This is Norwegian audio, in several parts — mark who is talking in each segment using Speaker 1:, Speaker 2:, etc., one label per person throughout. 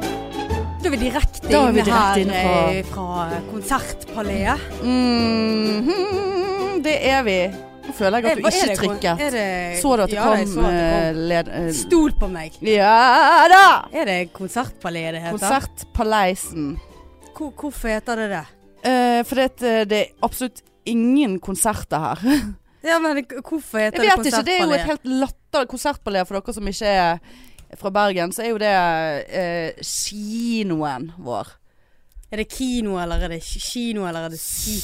Speaker 1: Da er vi direkte
Speaker 2: Da er vi
Speaker 1: inne
Speaker 2: direkte
Speaker 1: her
Speaker 2: inne fra-
Speaker 1: eh, fra Konsertpaleet.
Speaker 2: Mhm, det er vi. Nå føler jeg at
Speaker 1: Eh,
Speaker 2: du
Speaker 1: hva er
Speaker 2: ikke
Speaker 1: det- er
Speaker 2: trykket.
Speaker 1: det-
Speaker 2: Så du at det
Speaker 1: Ja,
Speaker 2: kom,
Speaker 1: jeg så at det
Speaker 2: eh, led... eh,
Speaker 1: kom. Stol på meg.
Speaker 2: Ja da!
Speaker 1: Er det Konsertpaleet det heter?
Speaker 2: Konsertpaleisen.
Speaker 1: Hvor, hvorfor heter det det?
Speaker 2: Eh, for det, eh, det er absolutt ingen konserter her.
Speaker 1: Ja, men det- hvorfor heter det
Speaker 2: Jeg vet ikke, det er jo
Speaker 1: Konsertpaleet?
Speaker 2: et helt latter konsertpalé for dere som ikke er fra Bergen. Så er jo det eh, kinoen vår.
Speaker 1: Er det kino, eller er det ki- kino, eller er det ski?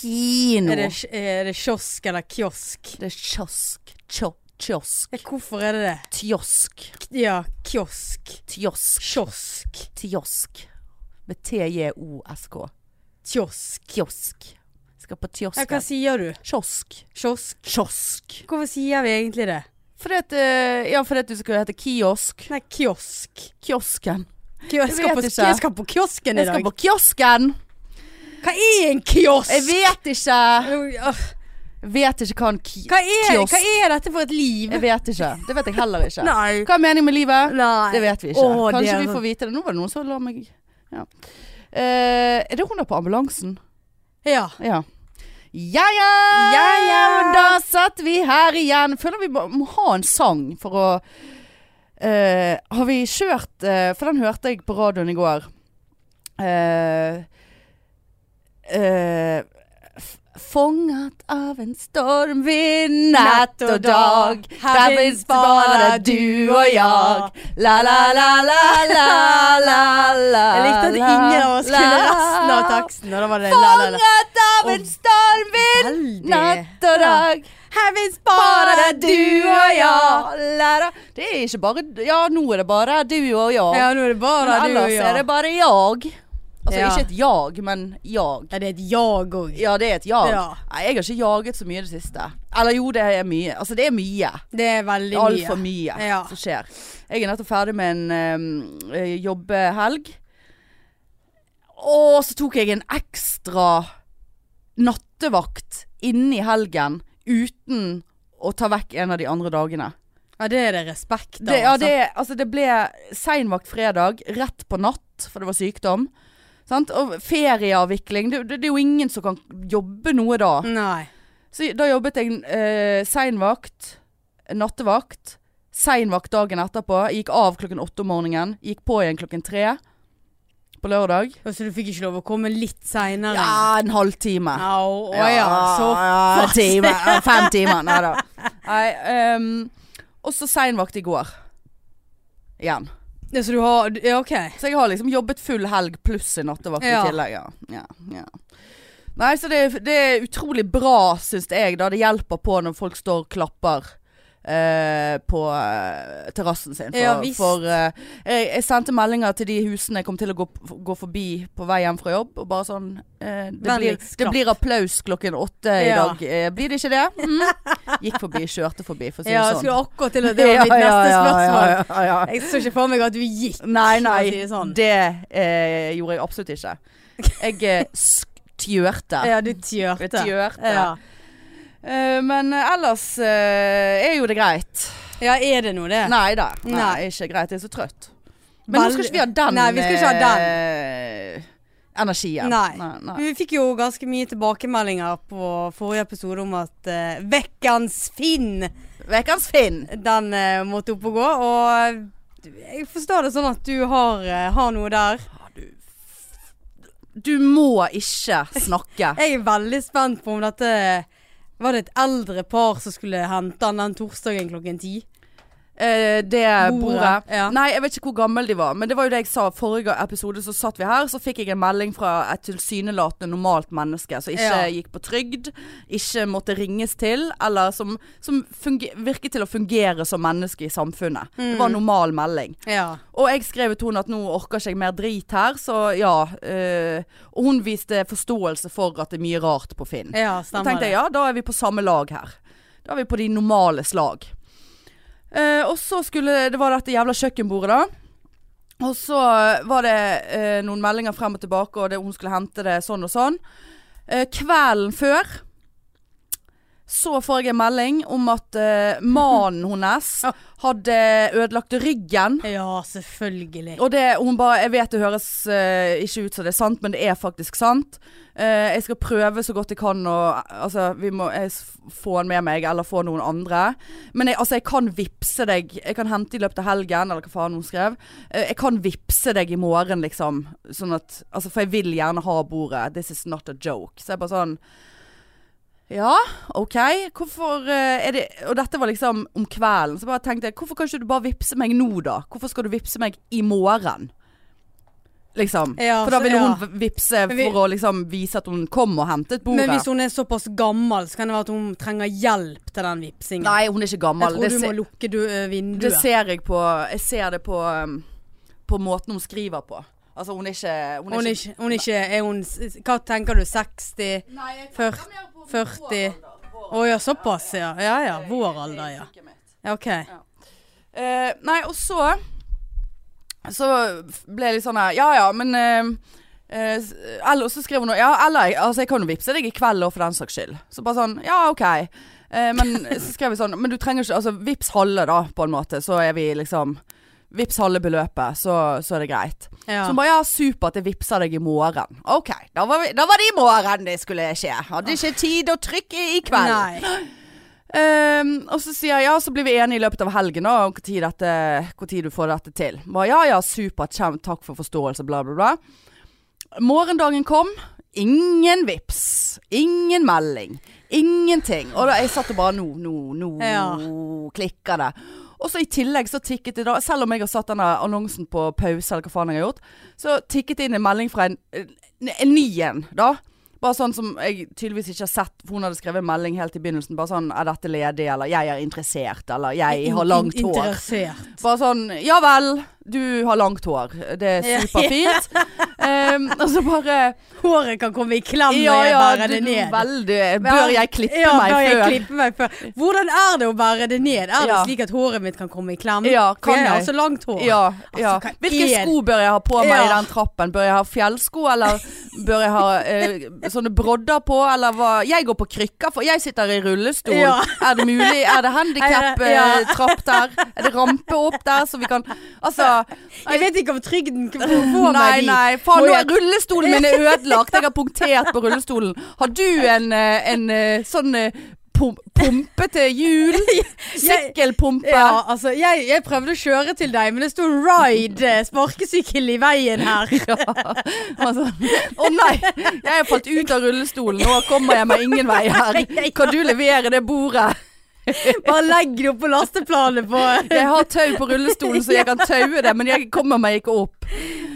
Speaker 2: Kino.
Speaker 1: Er det, ki- er det kiosk eller kiosk?
Speaker 2: Det er kiosk. Tjo, kiosk.
Speaker 1: Ja, hvorfor er det det?
Speaker 2: Tjosk.
Speaker 1: K- Ja, kiosk.
Speaker 2: Tjosk.
Speaker 1: Kiosk.
Speaker 2: Tjosk. Med T-J-O-S-K.
Speaker 1: Kiosk.
Speaker 2: Kiosk. Skal på
Speaker 1: Ja, hva
Speaker 2: kiosken.
Speaker 1: sier du?
Speaker 2: Kiosk.
Speaker 1: Kiosk?
Speaker 2: Kiosk.
Speaker 1: Hvorfor sier vi egentlig det?
Speaker 2: Fordi at, eh, ja, fordi at du skulle hete kiosk.
Speaker 1: Nei, kiosk.
Speaker 2: Kiosken.
Speaker 1: Kio- Jeg skal,
Speaker 2: vet
Speaker 1: på,
Speaker 2: ikke.
Speaker 1: jeg skal på kiosken i dag.
Speaker 2: Jeg skal på kiosken!
Speaker 1: Hva er en kiosk?
Speaker 2: Jeg vet ikke.
Speaker 1: Åh,
Speaker 2: Jeg vet ikke hva en ki
Speaker 1: Hva er,
Speaker 2: Kiosk.
Speaker 1: hva er dette for et liv?
Speaker 2: Jeg vet ikke. Det vet jeg heller ikke.
Speaker 1: Nei.
Speaker 2: Hva er meningen med livet?
Speaker 1: Nei.
Speaker 2: Det vet vi ikke.
Speaker 1: Åh, det
Speaker 2: Kanskje
Speaker 1: er
Speaker 2: vi
Speaker 1: så-
Speaker 2: får vite det. Nå var det noen som la meg ja. Eh, Er det hun der på ambulansen?
Speaker 1: Ja.
Speaker 2: Ja. Ja ja!
Speaker 1: Ja, ja!
Speaker 2: Da satt vi her igjen. Føler vi bare må ha en sang for å eh, Har vi kjørt eh, For den hørte jeg på radioen i går. Eh, eh, f- Fanget av en stormvind natt og dag. Her fins bare du og jeg. La, la, la, la, la, la, la.
Speaker 1: Jeg likte at ingen av oss kunne resten av taksten, og da var det la, la, la.
Speaker 2: Fanget av en stormvind
Speaker 1: Veldig.
Speaker 2: natt og dag.
Speaker 1: Her fins
Speaker 2: Bare
Speaker 1: bare
Speaker 2: du og jeg. La, la. Det er ikke bare Ja, nå er det bare du og jeg.
Speaker 1: Ja, nå er det bare du og
Speaker 2: Men ellers er
Speaker 1: jeg.
Speaker 2: det bare jeg. Altså
Speaker 1: Ja.
Speaker 2: ikke et jag, men jag.
Speaker 1: Ja, det er et jag òg.
Speaker 2: Ja, det er et jag.
Speaker 1: Ja.
Speaker 2: Nei, jeg har ikke jaget så mye i det siste. Eller jo, det er mye. Altså, det er mye.
Speaker 1: Det er veldig mye.
Speaker 2: Altfor mye
Speaker 1: Ja.
Speaker 2: som skjer. Jeg er nettopp ferdig med en um, jobbehelg. Og så tok jeg en ekstra nattevakt inni helgen uten å ta vekk en av de andre dagene.
Speaker 1: Ja, det er det respekt av.
Speaker 2: Det, ja,
Speaker 1: altså.
Speaker 2: det, altså, det ble seinvakt fredag, rett på natt, for det var sykdom. Sant? Og ferieavvikling. Det, det, det er jo ingen som kan jobbe noe da.
Speaker 1: Nei.
Speaker 2: Så da jobbet jeg eh, seinvakt, nattevakt, seinvakt dagen etterpå. Jeg Gikk av klokken åtte om morgenen, gikk på igjen klokken tre på lørdag.
Speaker 1: Og Så du fikk ikke lov å komme litt seinere?
Speaker 2: Ja, en halvtime.
Speaker 1: Au, å ja. Så
Speaker 2: ja, en
Speaker 1: fast.
Speaker 2: time. Ja, fem timer. Nei da. Nei, ehm, og så seinvakt i går. Igjen.
Speaker 1: Ja, Så du har Ja, OK.
Speaker 2: Så jeg har liksom jobbet full helg pluss en nattevakt
Speaker 1: Ja.
Speaker 2: i tillegg. Ja. Ja, ja. Nei, så det, det er utrolig bra, syns jeg, da. Det hjelper på når folk står og klapper. eh, på eh, terrassen sin. For,
Speaker 1: Ja, visst.
Speaker 2: for eh, jeg, jeg sendte meldinger til de husene jeg kom til å gå, f- gå forbi på vei hjem fra jobb, og bare sånn eh, det, blir,
Speaker 1: Vennligst
Speaker 2: det
Speaker 1: klapp.
Speaker 2: blir applaus klokken åtte i
Speaker 1: Ja.
Speaker 2: dag. Eh, blir det ikke det? Mm. Gikk forbi, kjørte forbi, for å si det
Speaker 1: Ja, jeg
Speaker 2: sånn.
Speaker 1: skulle akkurat til å Det var mitt neste spørsmål.
Speaker 2: Ja, ja, ja, ja.
Speaker 1: Jeg så ikke for meg at du gikk.
Speaker 2: Nei,
Speaker 1: for å
Speaker 2: nei,
Speaker 1: si det sånn.
Speaker 2: det eh, gjorde jeg absolutt ikke. Jeg eh, stjørte.
Speaker 1: Ja, du
Speaker 2: Jeg
Speaker 1: tjørte.
Speaker 2: tjørte.
Speaker 1: Ja.
Speaker 2: Eh, men eh, ellers eh, er jo det greit.
Speaker 1: ja, er det nå det?
Speaker 2: Nei da. Nei,
Speaker 1: Nei.
Speaker 2: ikke greit. Jeg er så trøtt. Men nå
Speaker 1: Vel-
Speaker 2: skal ikke vi ha den,
Speaker 1: Nei, vi skal ikke ha den.
Speaker 2: eh, energien.
Speaker 1: Nei.
Speaker 2: Nei, nei.
Speaker 1: Men Vi fikk jo ganske mye tilbakemeldinger på forrige episode om at eh, Vekkens Finn,
Speaker 2: Vekans Finn.
Speaker 1: den eh, måtte opp og gå. Og jeg forstår det sånn at du har, eh, har noe der.
Speaker 2: Du må ikke snakke.
Speaker 1: Jeg er veldig spent på om dette Var det et eldre par som skulle hente han den torsdagen klokken ti?
Speaker 2: Eh, det
Speaker 1: Bordet,
Speaker 2: bordet.
Speaker 1: ja.
Speaker 2: Nei, jeg vet ikke hvor gammel de var, men det var jo det jeg sa. Forrige episode så satt vi her, så fikk jeg en melding fra et tilsynelatende normalt menneske som ikke
Speaker 1: Ja.
Speaker 2: gikk på trygd, ikke måtte ringes til, eller som, som funge- virket til å fungere som menneske i samfunnet. Det
Speaker 1: Mm.
Speaker 2: var en normal melding.
Speaker 1: Ja.
Speaker 2: Og jeg skrev til henne at nå orker ikke jeg mer drit her, så ja. eh, og hun viste forståelse for at det er mye rart på Finn.
Speaker 1: ja
Speaker 2: Da
Speaker 1: stemmer
Speaker 2: tenkte jeg ja, da er vi på samme lag her. Da er vi på de normale slag. Eh, og så skulle Det var dette jævla kjøkkenbordet, da. Og så var det eh, noen meldinger frem og tilbake, og det, hun skulle hente det sånn og sånn. Eh, kvelden før Så får jeg en melding om at eh, mannen hennes hadde ødelagt ryggen.
Speaker 1: Ja, selvfølgelig.
Speaker 2: Og det, hun bare, jeg vet det høres eh, ikke ut som det er sant, men det er faktisk sant. Eh, jeg skal prøve så godt jeg kan å altså, vi må, jeg, s- få han med meg, eller få noen andre. Men jeg, altså, jeg kan vippse deg. Jeg kan hente i løpet av helgen, eller hva faen hun skrev. Eh, jeg kan vippse deg i morgen, liksom. Sånn at, altså, for jeg vil gjerne ha bordet. This is not a joke. Så jeg bare sånn ja, OK. Hvorfor eh, er det Og dette var liksom om kvelden. Så bare tenkte jeg, hvorfor kan ikke du bare vippse meg nå, da? Hvorfor skal du vippse meg i morgen? Liksom.
Speaker 1: Ja,
Speaker 2: for da
Speaker 1: så-
Speaker 2: ville
Speaker 1: ja.
Speaker 2: hun vippse
Speaker 1: Men vi-
Speaker 2: for å liksom vise at hun kom og hentet bordet.
Speaker 1: Men hvis hun er såpass gammel, så kan det være at hun trenger hjelp til den vipsingen.
Speaker 2: Nei, hun er ikke
Speaker 1: jeg
Speaker 2: gammel.
Speaker 1: tror
Speaker 2: Det,
Speaker 1: du
Speaker 2: se,
Speaker 1: må lukke du, ø, vinduet.
Speaker 2: det ser jeg på Jeg ser det på, um, på måten hun skriver på. Altså, hun er ikke Hun er,
Speaker 1: hun er
Speaker 2: ikke,
Speaker 1: ikke, hun er ikke er hun, s- Hva tenker du, 60?
Speaker 2: Nei, jeg
Speaker 1: tenker Ført-
Speaker 2: mer på
Speaker 1: 40. Å ja, såpass, ja. Ja ja. Vår alder, ja. Ja, OK.
Speaker 2: Eh, nei, og så Så ble jeg litt sånn her Ja ja, men eh, eh, s- Eller og så skrev hun noe Ja, eller jeg- altså, jeg kan jo vippse deg i kveld òg, for den saks skyld. Så bare sånn Ja, OK. Eh, men så skrev jeg sånn Men du trenger ikke Altså, vips halve, da, på en måte. Så er vi liksom Vips halve beløpet, så, så er det greit.
Speaker 1: Ja.
Speaker 2: Så hun bare ja, supert, jeg vippser deg i morgen. OK, da var, vi, da var det i morgen det skulle skje. Hadde ikke tid å trykke i kveld.
Speaker 1: Nei.
Speaker 2: Ehm, og så sier jeg ja, så blir vi enige i løpet av helgen da, om hvor tid, dette, hvor tid du får dette til. Bare, ja ja, supert, kjem, takk for forståelse, bla, bla, bla. Morgendagen kom. Ingen vips. Ingen melding. Ingenting. Og da, jeg satt og bare nå, nå, nå
Speaker 1: Ja.
Speaker 2: klikker det. Og så i tillegg så tikket det da, selv om jeg har satt denne annonsen på pause, eller hva faen jeg har gjort, så tikket det inn en melding fra en, en, en ny en, da. Bare sånn som jeg tydeligvis ikke har sett, for hun hadde skrevet en melding helt i begynnelsen, bare sånn, er dette ledig, eller jeg er interessert, eller jeg har langt
Speaker 1: In-
Speaker 2: hår.
Speaker 1: Interessert.
Speaker 2: Bare sånn, ja vel, du har langt hår, det
Speaker 1: Ja.
Speaker 2: er superfint. Ehm, og så bare,
Speaker 1: Håret kan komme i klem når
Speaker 2: ja
Speaker 1: jeg
Speaker 2: ja,
Speaker 1: bærer
Speaker 2: du,
Speaker 1: det
Speaker 2: du
Speaker 1: ned.
Speaker 2: veldig, bør jeg klippe
Speaker 1: ja,
Speaker 2: meg
Speaker 1: bør
Speaker 2: før?
Speaker 1: Jeg klippe meg før? Hvordan er det å bære det ned? Er det
Speaker 2: Ja.
Speaker 1: slik at håret mitt kan komme i klem?
Speaker 2: Ja,
Speaker 1: For
Speaker 2: kan
Speaker 1: jeg har
Speaker 2: jeg?
Speaker 1: så langt hår.
Speaker 2: Ja, ja.
Speaker 1: Altså, hva
Speaker 2: Hvilke
Speaker 1: er-
Speaker 2: sko bør jeg ha på meg i
Speaker 1: Ja.
Speaker 2: den trappen? Bør jeg ha fjellsko, eller bør jeg ha eh, sånne brodder på, eller hva? Jeg går på krykker, for jeg sitter i rullestol.
Speaker 1: Ja.
Speaker 2: Er det mulig? Er det
Speaker 1: Ja.
Speaker 2: handikap-trapp der? Er det rampe opp der, så vi kan Altså
Speaker 1: Jeg vet ikke om trygden k- får
Speaker 2: Nei,
Speaker 1: meg dit.
Speaker 2: nei. Faen,
Speaker 1: Må
Speaker 2: nå
Speaker 1: jeg-
Speaker 2: er rullestolen min er ødelagt. Jeg har punktert på rullestolen. Har du en, eh, en eh, sånn eh, pum- pumpe til hjul? Sykkelpumpe?
Speaker 1: Ja, altså, jeg, jeg prøvde å kjøre til deg, men det sto 'ride' eh, sparkesykkel i veien her.
Speaker 2: Og så- Å nei, jeg har falt ut av rullestolen, nå kommer jeg meg ingen vei her. Kan du levere det bordet?
Speaker 1: Bare legg det opp på lasteplanet på
Speaker 2: Jeg har tau på rullestolen, så jeg kan taue det, men jeg kommer meg ikke opp.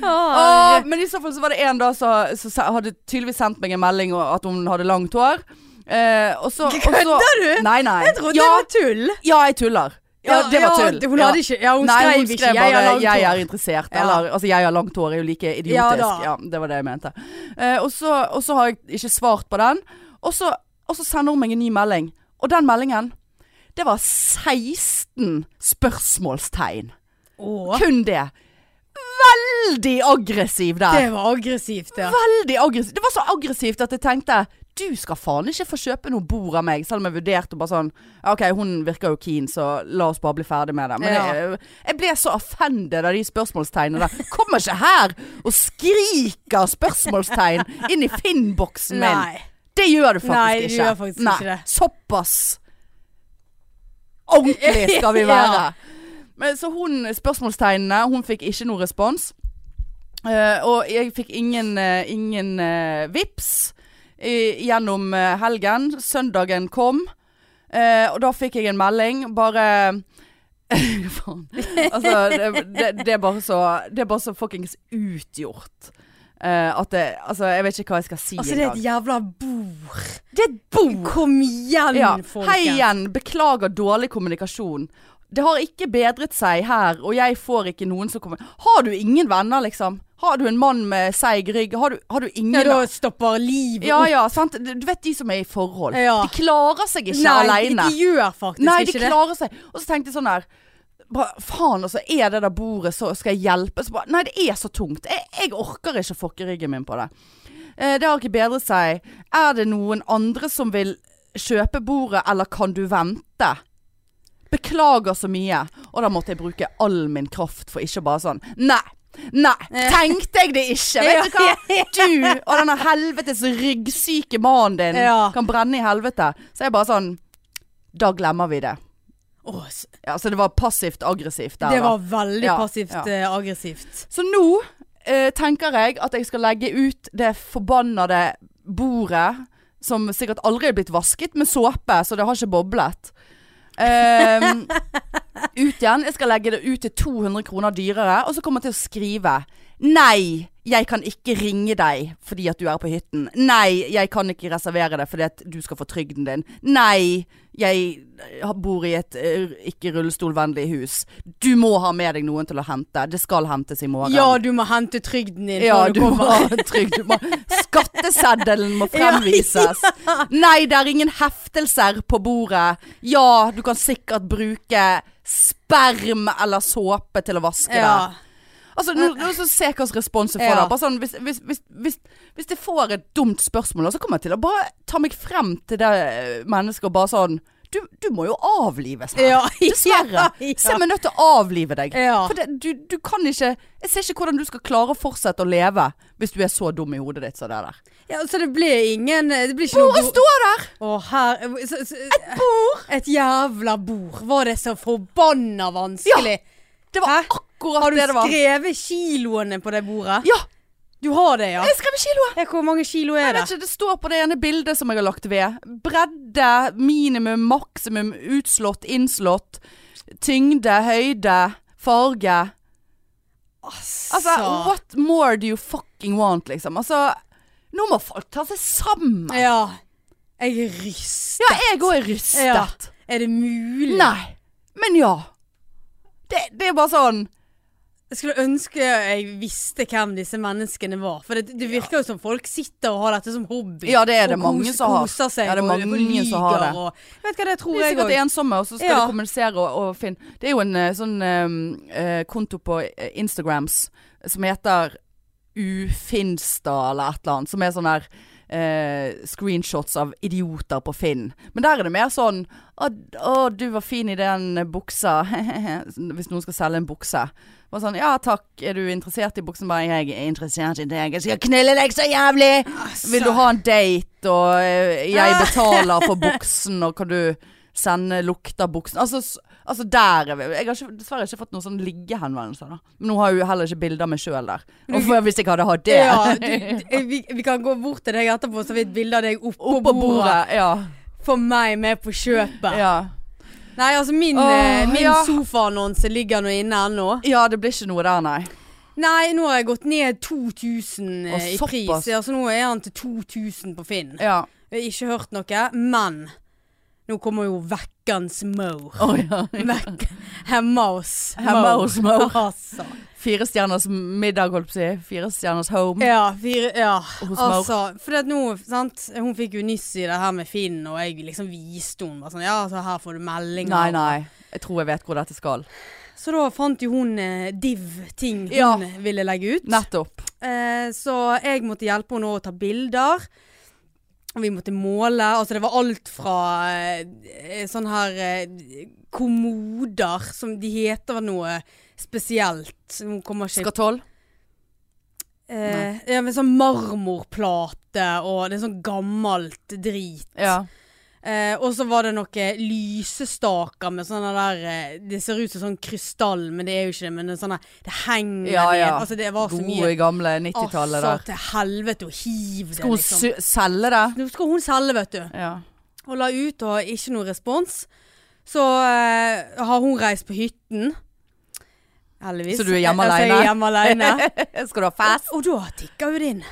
Speaker 2: Å, men i så fall så var det en da som som sa- hadde tydeligvis sendt meg en melding og- at hun hadde langt hår. Eh, og så, og så-
Speaker 1: Kødder du?
Speaker 2: Nei, nei.
Speaker 1: Jeg trodde
Speaker 2: ja,
Speaker 1: det var tull.
Speaker 2: ja, jeg tuller. Ja, det var tull.
Speaker 1: Hun, hadde ikke, ja, hun
Speaker 2: Nei,
Speaker 1: skrev,
Speaker 2: hun skrev
Speaker 1: ikke
Speaker 2: bare
Speaker 1: 'jeg har langt
Speaker 2: 'jeg er
Speaker 1: hår'.
Speaker 2: interessert'.
Speaker 1: Ja.
Speaker 2: Eller altså 'jeg har langt hår' er jo like idiotisk.
Speaker 1: Ja
Speaker 2: Ja,
Speaker 1: da.
Speaker 2: det var det jeg mente. Eh, og, så, og så har jeg ikke svart på den. Og så, og så sender hun meg en ny melding. Og den meldingen, det var 16 spørsmålstegn.
Speaker 1: Å,
Speaker 2: Kun det. Veldig aggressiv der.
Speaker 1: det var aggressivt, ja.
Speaker 2: Veldig aggressivt. Det var så aggressivt at jeg tenkte du skal faen ikke få kjøpe noe bord av meg, selv om jeg vurderte og bare sånn «Ja, OK, hun virker jo keen, så la oss bare bli ferdig med det. Men
Speaker 1: Ja.
Speaker 2: jeg, jeg ble så offended av de spørsmålstegnene der. Kommer ikke her og skriker spørsmålstegn inn i Finn-boksen min.
Speaker 1: Nei.
Speaker 2: Det gjør du faktisk
Speaker 1: Nei, du
Speaker 2: ikke.
Speaker 1: gjør faktisk ikke det.
Speaker 2: Såpass ordentlig skal vi
Speaker 1: Ja.
Speaker 2: være. Men, så hun, spørsmålstegnene, hun fikk ikke noe respons. Eh, og jeg fikk ingen, eh, ingen eh, vips i, gjennom eh, helgen. Søndagen kom, eh, og da fikk jeg en melding. Bare Faen. Altså, det, det, det, er bare så, det er bare så fuckings utgjort. Eh, at det Altså, jeg vet ikke hva jeg skal si
Speaker 1: Altså, det er
Speaker 2: engang.
Speaker 1: et jævla bord.
Speaker 2: Det er et bord!
Speaker 1: Kom igjen,
Speaker 2: Ja.
Speaker 1: folkens.
Speaker 2: Hei igjen, beklager dårlig kommunikasjon. Det har ikke bedret seg her, og jeg får ikke noen som kommer Har du ingen venner, liksom? Har du en mann med seig rygg? Har du, har du ingen
Speaker 1: Ja, da stopper livet
Speaker 2: ja,
Speaker 1: opp.
Speaker 2: ja, sant. Du vet de som er i forhold.
Speaker 1: Ja.
Speaker 2: De klarer seg ikke
Speaker 1: Nei,
Speaker 2: aleine.
Speaker 1: de gjør faktisk
Speaker 2: Nei, de
Speaker 1: ikke det.
Speaker 2: klarer seg. Og så tenkte jeg sånn her bare, Faen, altså. Er det der bordet, så skal jeg hjelpe. Så bare, nei, det er så tungt. Jeg, jeg orker ikke å fokke ryggen min på det. Eh, det har ikke bedret seg. Er det noen andre som vil kjøpe bordet, eller kan du vente? Beklager så mye. Og da måtte jeg bruke all min kraft for ikke bare sånn Nei! Nei!
Speaker 1: Eh.
Speaker 2: Tenkte jeg det ikke! Vet du hva? Du og denne helvetes ryggsyke mannen din
Speaker 1: Ja.
Speaker 2: kan brenne i helvete. Så jeg bare sånn Da glemmer vi det.
Speaker 1: Åh, s-
Speaker 2: Ja, så det var passivt aggressivt der.
Speaker 1: det
Speaker 2: da.
Speaker 1: var veldig
Speaker 2: Ja,
Speaker 1: passivt
Speaker 2: ja.
Speaker 1: eh, aggressivt.
Speaker 2: Så nå eh, tenker jeg at jeg skal legge ut det forbannede bordet, som sikkert aldri er blitt vasket med såpe, så det har ikke boblet. Ehm, ut igjen. Jeg skal legge det ut til 200 kroner dyrere, og så kommer jeg til å skrive Nei, jeg kan ikke ringe deg fordi at du er på hytten. Nei, jeg kan ikke reservere det fordi at du skal få trygden din. Nei, jeg har- bor i et eh, ikke rullestolvennlig hus. Du må ha med deg noen til å hente. Det skal hentes i morgen.
Speaker 1: Ja, du må hente trygden din
Speaker 2: Ja,
Speaker 1: før du
Speaker 2: du må
Speaker 1: kommer.
Speaker 2: ha trygd. Du må- Skatteseddelen må fremvises. Nei, det er ingen heftelser på bordet. Ja, du kan sikkert bruke sperm eller såpe til å vaske det.
Speaker 1: Ja.
Speaker 2: Altså, nå, nå så Se hvilken respons jeg får.
Speaker 1: Ja.
Speaker 2: da. Bare sånn, hvis, hvis, hvis, hvis, hvis jeg får et dumt spørsmål, så kommer jeg til å bare ta meg frem til det eh, mennesket og bare sånn du, du må jo avlives her.
Speaker 1: Ja,
Speaker 2: Dessverre.
Speaker 1: ja, ja.
Speaker 2: Se meg nødt til å avlive deg.
Speaker 1: Ja.
Speaker 2: For det, du, du kan ikke Jeg ser ikke hvordan du skal klare å fortsette å leve hvis du er så dum i hodet ditt som det der.
Speaker 1: ja, så det blir ingen Det blir ikke
Speaker 2: Bordet
Speaker 1: noe
Speaker 2: står der!
Speaker 1: Å, her så, så, Et bord! Et jævla bord. Var det så forbanna vanskelig?
Speaker 2: Det var
Speaker 1: Hæ?
Speaker 2: akkurat
Speaker 1: Har du
Speaker 2: det det var.
Speaker 1: skrevet kiloene på det bordet?
Speaker 2: Ja,
Speaker 1: Du har det, ja?
Speaker 2: jeg skrev kiloet!
Speaker 1: Ja, Hvor mange kilo er
Speaker 2: Jeg
Speaker 1: det?
Speaker 2: vet ikke, det står på det ene bildet som jeg har lagt ved. Bredde, minimum, maksimum, utslått, innslått. Tyngde, høyde, farge. Altså, what more do you fucking want, liksom? Altså, nå må folk ta seg sammen.
Speaker 1: Ja. Jeg er rystet.
Speaker 2: Ja, jeg òg er rystet.
Speaker 1: Ja. Er det mulig?
Speaker 2: Nei, men ja. Det, det er bare sånn
Speaker 1: Jeg skulle ønske jeg visste hvem disse menneskene var. For det, det virker jo som folk sitter og har dette som hobby.
Speaker 2: Ja, det er det
Speaker 1: og
Speaker 2: mange som har.
Speaker 1: koser seg
Speaker 2: Ja, det er
Speaker 1: og-
Speaker 2: mange
Speaker 1: og
Speaker 2: som har
Speaker 1: lyger
Speaker 2: det.
Speaker 1: Og, vet du hva, det tror
Speaker 2: De er
Speaker 1: jeg
Speaker 2: sikkert
Speaker 1: òg.
Speaker 2: ensomme, og så skal
Speaker 1: Ja.
Speaker 2: de kommunisere og, og finne Det er jo en eh, sånn eh, eh, konto på eh, Instagrams som heter Ufinsta eller et eller annet, som er sånn der eh, screenshots av idioter på Finn. Men der er det mer sånn Å, å du var fin i den eh, buksa. Hvis noen skal selge en bukse. Bare sånn Ja takk, er du interessert i buksen? Bare jeg er interessert i deg. Jeg skal knille deg så jævlig! Vil du ha en date, og eh, jeg betaler for buksen, og kan du sende lukt av buksen? Altså, s- altså der er vi. Jeg har ikke, dessverre ikke fått noen sånn liggehenvendelser, da. Men nå har jeg jo heller ikke bilder av meg sjøl der. Uff, hvis jeg ikke hadde hatt det.
Speaker 1: Ja, du, du- vi, vi kan gå bort til deg etterpå, så har vi et bilde av deg oppå
Speaker 2: Oppå
Speaker 1: bordet.
Speaker 2: bordet. Ja.
Speaker 1: For meg med på kjøpet.
Speaker 2: ja.
Speaker 1: Nei, altså min,
Speaker 2: Åh,
Speaker 1: eh, min
Speaker 2: ja.
Speaker 1: sofaannonse ligger nå inne ennå.
Speaker 2: Ja, det blir ikke noe der, nei.
Speaker 1: Nei, nå har jeg gått ned 2000
Speaker 2: Åh,
Speaker 1: i pris.
Speaker 2: såpass.
Speaker 1: Ja, så nå er han til 2000 på Finn.
Speaker 2: Ja.
Speaker 1: Jeg har ikke hørt noe, men nå kommer jo vekkens mor.
Speaker 2: Å, ja.
Speaker 1: Vekk. Hemma oss.
Speaker 2: Hemma
Speaker 1: mor.
Speaker 2: hos Mo.
Speaker 1: Altså.
Speaker 2: Fire stjerners middag, holdt på å si. Fire stjerners home.
Speaker 1: Ja, fire, ja.
Speaker 2: Hos mor.
Speaker 1: altså, for det at nå, sant, hun fikk jo nyss i det her med Finn, og jeg liksom viste hun bare sånn, ja, altså her får du meldinger.
Speaker 2: Nei, nei. Jeg tror jeg vet hvor dette skal.
Speaker 1: Så da fant jo hun eh, div-ting hun
Speaker 2: Ja.
Speaker 1: ville legge ut.
Speaker 2: Nettopp.
Speaker 1: Eh, så jeg måtte hjelpe henne å ta bilder. Og vi måtte måle. Altså det var alt fra eh, sånne her eh, kommoder som de heter noe spesielt. Hun kommer ikke
Speaker 2: Skatol.
Speaker 1: eh, ja, men Sånn marmorplate og det er sånn gammelt drit.
Speaker 2: Ja.
Speaker 1: Eh, og så var det noen lysestaker med sånne der eh, Det ser ut som sånn krystall, men det er jo ikke det. Men det, er sånne, det henger
Speaker 2: Ja, ja.
Speaker 1: ned. Altså, det var så mye
Speaker 2: Gode, gamle 90-tallet der.
Speaker 1: Altså, til helvete og hiv det,
Speaker 2: Skal hun
Speaker 1: liksom.
Speaker 2: sy- selge det?
Speaker 1: Nå skal hun selge, vet du.
Speaker 2: Ja.
Speaker 1: Og la ut og ikke noe respons. Så eh, har hun reist på hytten. Heldigvis.
Speaker 2: Så du er hjemme
Speaker 1: Altså, jeg
Speaker 2: alene?
Speaker 1: er hjemme alene.
Speaker 2: Skal du ha fest?
Speaker 1: og, og da tikker jo det inn.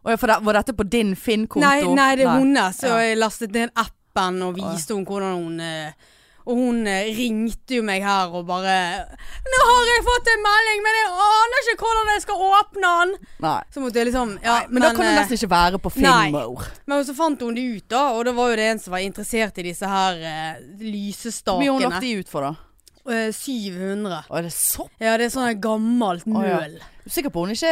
Speaker 2: Å ja, for det, var dette på din Finn-konto?
Speaker 1: Nei, nei, det er hennes. Så
Speaker 2: Ja.
Speaker 1: jeg lastet ned appen og viste henne hvordan hun eh, og hun eh, ringte jo meg her og bare 'Nå har jeg fått en melding, men jeg aner ikke hvordan jeg skal åpne den!'
Speaker 2: Nei.
Speaker 1: Så måtte jeg liksom ja,
Speaker 2: Men, da kan du
Speaker 1: eh,
Speaker 2: nesten ikke være på
Speaker 1: nei.
Speaker 2: Finnmore.
Speaker 1: Men så fant hun det ut, da. Og det var jo det en som var interessert i disse her eh,
Speaker 2: Hvor mye har hun
Speaker 1: lysestakene.
Speaker 2: lagt de ut for, da?
Speaker 1: eh, 700.
Speaker 2: Å, er det sopp?
Speaker 1: Ja, det er sånn her gammelt
Speaker 2: Å,
Speaker 1: møl.
Speaker 2: ja. Du er sikker på hun ikke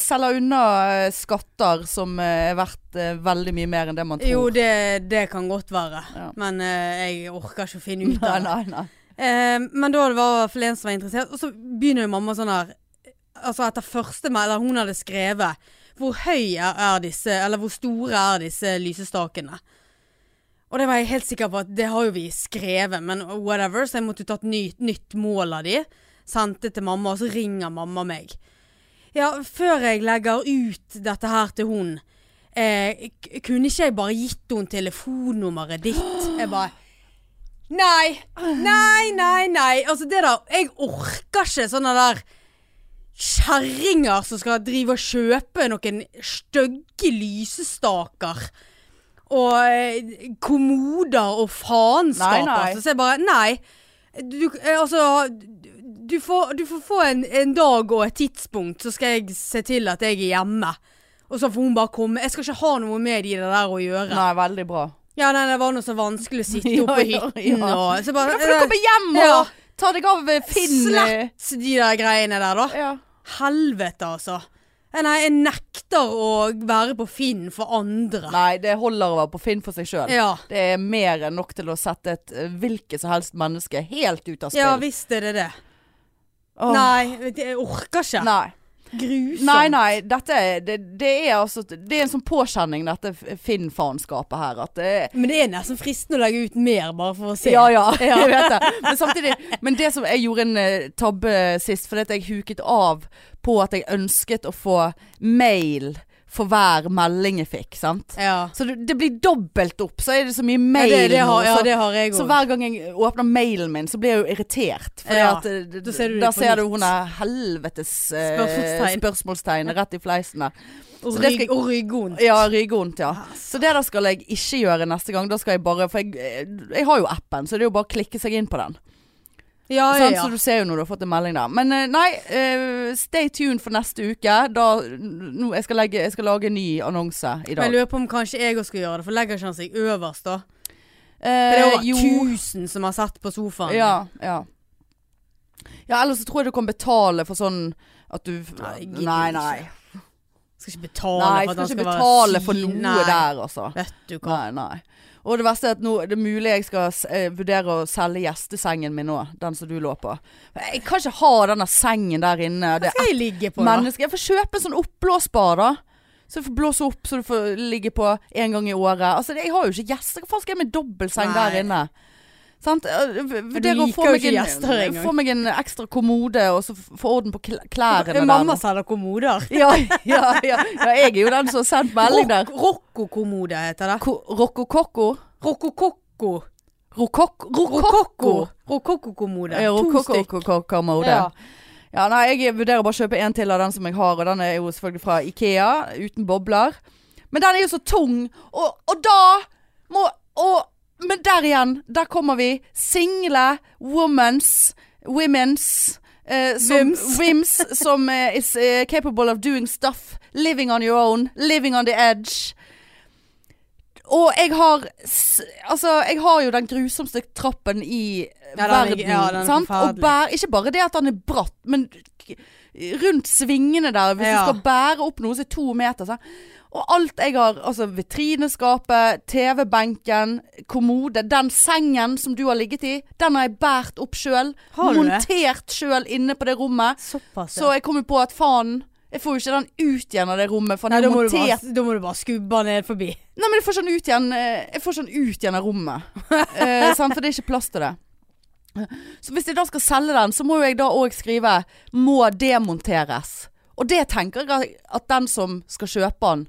Speaker 2: selger unna eh, skatter som eh, er verdt eh, veldig mye mer enn det man tror?
Speaker 1: Jo, det, det kan godt være.
Speaker 2: Ja.
Speaker 1: Men eh, jeg orker ikke å finne ut
Speaker 2: Nei,
Speaker 1: av det.
Speaker 2: nei, nei.
Speaker 1: Eh, men da var det i hvert fall en som var interessert. Og så begynner jo mamma sånn her Altså etter første mail, eller hun hadde skrevet Hvor høy er, er disse, eller hvor store er disse lysestakene? Og det var jeg helt sikker på at det har jo vi skrevet, men whatever. Så jeg måtte jo ta et ny, nytt mål av de. Sendte til mamma, og så ringer mamma meg. Ja, før jeg legger ut dette her til hun, eh, k- kunne ikke jeg bare gitt hun telefonnummeret ditt? Jeg bare Nei! Nei, nei, nei. Altså det der Jeg orker ikke sånne der kjerringer som skal drive og kjøpe noen stygge lysestaker. Og eh, kommoder og faenskap.
Speaker 2: Nei, nei.
Speaker 1: Altså. Så jeg bare Nei. Du, eh, altså du får, du får få en, en dag og et tidspunkt, så skal jeg se til at jeg er hjemme. Og så får hun bare komme. Jeg skal ikke ha noe med de der å gjøre.
Speaker 2: nei, veldig bra.
Speaker 1: Ja, nei, det var noe så vanskelig å sitte
Speaker 2: Ja,
Speaker 1: oppe på
Speaker 2: ja,
Speaker 1: hytten
Speaker 2: ja.
Speaker 1: og så
Speaker 2: Men
Speaker 1: bare eh,
Speaker 2: da får du komme hjem og
Speaker 1: Ja.
Speaker 2: ta deg av eh, Finn. eh,
Speaker 1: Slett de der greiene der, da.
Speaker 2: Ja.
Speaker 1: Helvete, altså. Eh, Nei, jeg nekter å være på Finn for andre.
Speaker 2: Nei, det holder å være på Finn for seg sjøl.
Speaker 1: Ja.
Speaker 2: Det er mer enn nok til å sette et eh, hvilket som helst menneske helt ut av spill.
Speaker 1: ja visst er det det.
Speaker 2: Åh.
Speaker 1: Nei, vet du, jeg orker ikke.
Speaker 2: Nei.
Speaker 1: Grusomt.
Speaker 2: Nei, nei, dette er- det, det er altså Det er en sånn påkjenning, dette f- Finn-faenskapet her. At det er
Speaker 1: Men det er nesten fristende å legge ut mer, bare for å se.
Speaker 2: Ja, ja, jeg vet det. Men samtidig Men det som jeg gjorde en eh, tabbe sist, fordi at jeg huket av på at jeg ønsket å få mail for hver melding jeg fikk, sant.
Speaker 1: Ja.
Speaker 2: Så det, det blir dobbelt opp, så er det så mye
Speaker 1: Ja,
Speaker 2: mail
Speaker 1: det, det har,
Speaker 2: nå,
Speaker 1: ja,
Speaker 2: så-
Speaker 1: det har jeg
Speaker 2: Så
Speaker 1: òg.
Speaker 2: hver gang jeg åpner mailen min, så blir jeg jo irritert. For
Speaker 1: Ja,
Speaker 2: at, eh, d-
Speaker 1: da ser du det
Speaker 2: da
Speaker 1: på
Speaker 2: ser du
Speaker 1: nytt.
Speaker 2: hun er helvetes eh,
Speaker 1: Spørsmålstegn.
Speaker 2: spørsmålstegn rett i fleisen der.
Speaker 1: Og
Speaker 2: Så det skal
Speaker 1: rygg-
Speaker 2: jeg-
Speaker 1: og ryggvondt.
Speaker 2: Ja, ryggvondt, ja. Så det der skal jeg ikke gjøre neste gang. Da skal jeg bare For jeg, eh, jeg har jo appen, så det er jo bare å klikke seg inn på den.
Speaker 1: Ja, ja,
Speaker 2: Sant?
Speaker 1: ja.
Speaker 2: Så du ser jo når du har fått en melding der. Men eh, nei, eh, stay tuned for neste uke. Da nå, jeg, skal legge, jeg skal lage en ny annonse
Speaker 1: Men
Speaker 2: i
Speaker 1: jeg
Speaker 2: dag.
Speaker 1: lurer på om kanskje jeg òg skulle gjøre det, for legger ikke han seg øverst da? For det er
Speaker 2: Eh,
Speaker 1: over
Speaker 2: jo.
Speaker 1: 1000 som har sett på sofaen.
Speaker 2: Ja, ja. Ja, ellers så tror jeg du kan betale for sånn at du
Speaker 1: Nei, jeg gidder
Speaker 2: Nei,
Speaker 1: ikke.
Speaker 2: nei.
Speaker 1: Skal ikke betale
Speaker 2: Nei,
Speaker 1: for
Speaker 2: jeg
Speaker 1: at han
Speaker 2: skal
Speaker 1: skal
Speaker 2: ikke
Speaker 1: være
Speaker 2: betale for
Speaker 1: sin-
Speaker 2: noe
Speaker 1: Nei,
Speaker 2: der, altså.
Speaker 1: Vet du hva.
Speaker 2: Nei, nei. Og det verste er at nå det er mulig jeg skal s- eh, vurdere å selge gjestesengen min nå, den som du lå på. Jeg kan ikke ha denne sengen der inne.
Speaker 1: Hva
Speaker 2: Det
Speaker 1: skal jeg ligge på, da?
Speaker 2: mennesker. Jeg får kjøpe en sånn oppblåsbar, da. Så du får blåse opp, så du får ligge på en gang i året. Altså, det- jeg har jo ikke gjester. Hva faen skal jeg med dobbeltseng
Speaker 1: Nei.
Speaker 2: der inne? Sant? Eh, v- Vurdere å
Speaker 1: liker
Speaker 2: få
Speaker 1: jo
Speaker 2: meg
Speaker 1: ikke
Speaker 2: en,
Speaker 1: gjester engang.
Speaker 2: få meg en ekstra kommode, og så f- få orden på kl- klærne
Speaker 1: Eh,
Speaker 2: der.
Speaker 1: Mamma
Speaker 2: nå.
Speaker 1: selger kommoder.
Speaker 2: ja, ja, ja, ja, jeg er jo den som har sendt melding der.
Speaker 1: Rok- Rokkokommode heter det.
Speaker 2: Ko- Rokokoko?
Speaker 1: Rokokokko.
Speaker 2: Rokok- Rokokko?
Speaker 1: Rokokko. Rokokkokommode.
Speaker 2: Ja,
Speaker 1: To stykk.
Speaker 2: Rokokoko-kommode.
Speaker 1: Ja.
Speaker 2: Ja, nei, jeg vurderer bare å kjøpe en til av den som jeg har, og den er jo selvfølgelig fra Ikea, uten bobler. Men den er jo så tung, og, og da må og, Men der igjen, der kommer vi. Single womens, women's eh, som,
Speaker 1: Vims.
Speaker 2: Wims som eh, is eh, capable of doing stuff. Living on your own. Living on the edge. Og jeg har s- Altså, jeg har jo den grusomste trappen i
Speaker 1: Ja, den er-
Speaker 2: verden.
Speaker 1: ja, den er
Speaker 2: sant? Og
Speaker 1: forferdelig.
Speaker 2: bær, ikke bare det at den er bratt, men k- rundt svingene der. Hvis
Speaker 1: Ja.
Speaker 2: du skal bære opp noe som er to meter. sant? Og alt jeg har, altså vitrineskapet, TV-benken, kommode, den sengen som du har ligget i, den har jeg båret opp sjøl.
Speaker 1: Har du det?
Speaker 2: Montert sjøl inne på det rommet.
Speaker 1: Såpass,
Speaker 2: Så
Speaker 1: ja.
Speaker 2: jeg kom jo på at faen, jeg får jo ikke den ut igjen av det rommet. For
Speaker 1: Nei, da
Speaker 2: den er
Speaker 1: må, du
Speaker 2: montert
Speaker 1: bare, da må du bare skubbe han ned forbi.
Speaker 2: Nei, men jeg får sånn ut igjen eh, Jeg får sånn ut igjen av rommet eh, sant? For det er ikke plass til det Så hvis jeg da skal selge den Så må jo jeg da også skrive Må demonteres Og det tenker jeg at den som skal kjøpe den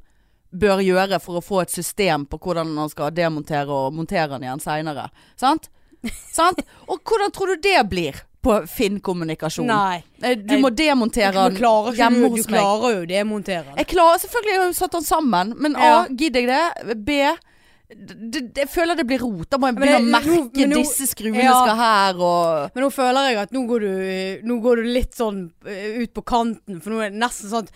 Speaker 2: Bør gjøre for å få et system På hvordan han skal demontere og montere den igjen senere Sant? sant? Og hvordan tror du det blir på Finn-kommunikasjon?
Speaker 1: Nei.
Speaker 2: Eh, Du må
Speaker 1: Du
Speaker 2: demontere den
Speaker 1: klarer, ikke,
Speaker 2: hjemme
Speaker 1: du
Speaker 2: hos meg
Speaker 1: klarer jo demontere den.
Speaker 2: jeg klarer, selvfølgelig har jeg jo satt den sammen, men A,
Speaker 1: Ja.
Speaker 2: gidder jeg det? B, d- d- jeg føler det blir rot. Da må jeg
Speaker 1: Men
Speaker 2: begynne å
Speaker 1: det-
Speaker 2: merke
Speaker 1: nå- men nå-
Speaker 2: disse skruene
Speaker 1: ja.
Speaker 2: skal her og
Speaker 1: Men nå føler jeg at nå går du, nå går du litt sånn eh, ut på kanten, for nå er det nesten sånn at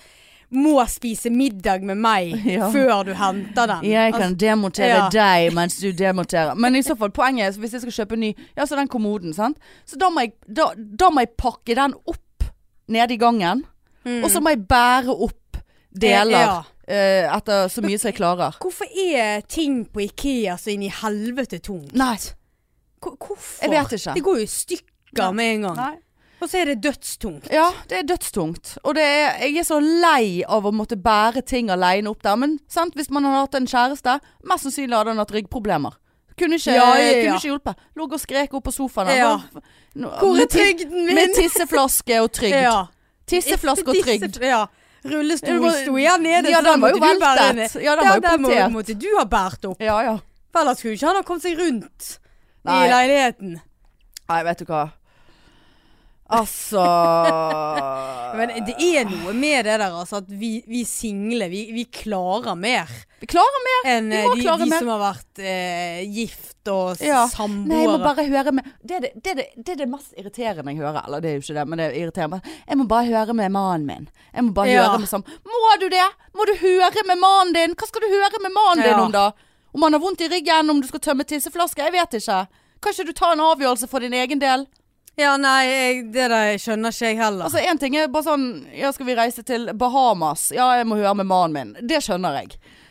Speaker 1: må spise middag med meg
Speaker 2: Ja.
Speaker 1: før du henter den.
Speaker 2: Jeg kan demontere
Speaker 1: ja.
Speaker 2: deg mens du demonterer. Men i så fall, poenget er hvis jeg skal kjøpe en ny, ja, så den kommoden, sant. Så da må jeg, da, da må jeg pakke den opp nede i gangen.
Speaker 1: Mm.
Speaker 2: Og så må jeg bære opp deler
Speaker 1: Ja.
Speaker 2: eh, etter så mye som jeg klarer.
Speaker 1: Hvorfor er ting på Ikea så inn i helvete tungt?
Speaker 2: Nei.
Speaker 1: Hvor- Hvorfor?
Speaker 2: Jeg vet ikke.
Speaker 1: Det går jo i stykker med en gang.
Speaker 2: Nei.
Speaker 1: Og så er det dødstungt.
Speaker 2: Ja, det er dødstungt. Og det er, jeg er så lei av å måtte bære ting alene opp der. Men sant, hvis man hadde hatt en kjæreste, mest sannsynlig hadde han hatt ryggproblemer. Kunne ikke,
Speaker 1: Ja, ja, ja.
Speaker 2: kunne ikke hjulpet. Lå og skrek opp på sofaen. Han
Speaker 1: Ja.
Speaker 2: var- nå-
Speaker 1: Hvor er
Speaker 2: med tis-
Speaker 1: trygden min?
Speaker 2: Med tisseflaske og trygd.
Speaker 1: Ja.
Speaker 2: Tisseflaske og
Speaker 1: Disse-
Speaker 2: trygd.
Speaker 1: Ja.
Speaker 2: Det
Speaker 1: Rullestolen
Speaker 2: var-
Speaker 1: sto igjen nede.
Speaker 2: Ja,
Speaker 1: så da
Speaker 2: den var jo
Speaker 1: måtte du bære
Speaker 2: veltet.
Speaker 1: den.
Speaker 2: Ja, den var jo
Speaker 1: må-
Speaker 2: punktert.
Speaker 1: måtte du ha båret opp.
Speaker 2: Ja, ja.
Speaker 1: For ellers skulle ikke han ha kommet seg rundt
Speaker 2: Nei.
Speaker 1: i leiligheten.
Speaker 2: Nei, vet du hva. Altså
Speaker 1: Men det er noe med det der, altså. At vi, vi single, vi, vi klarer mer
Speaker 2: Vi klarer mer.
Speaker 1: enn
Speaker 2: Vi
Speaker 1: eh,
Speaker 2: må
Speaker 1: de,
Speaker 2: klare
Speaker 1: de
Speaker 2: mer.
Speaker 1: som har vært eh, gift og
Speaker 2: Ja.
Speaker 1: s- samboere.
Speaker 2: Nei, jeg må bare høre med det er det, det, er det, det er det mest irriterende jeg hører. Eller det er jo ikke det, men det irriterer meg. Jeg må bare høre med mannen min. Jeg må bare
Speaker 1: Ja.
Speaker 2: høre med sam... Må du det? Må du høre med mannen din? Hva skal du høre med mannen
Speaker 1: Ja.
Speaker 2: din om, da? Om han har vondt i ryggen, om du skal tømme tisseflasker? Jeg vet ikke. Kan ikke du ta en avgjørelse for din egen del?
Speaker 1: Ja, nei, jeg, det der skjønner ikke jeg heller.
Speaker 2: Altså, én ting er bare sånn Ja, skal vi reise til Bahamas? Ja, jeg må høre med mannen min. Det skjønner jeg.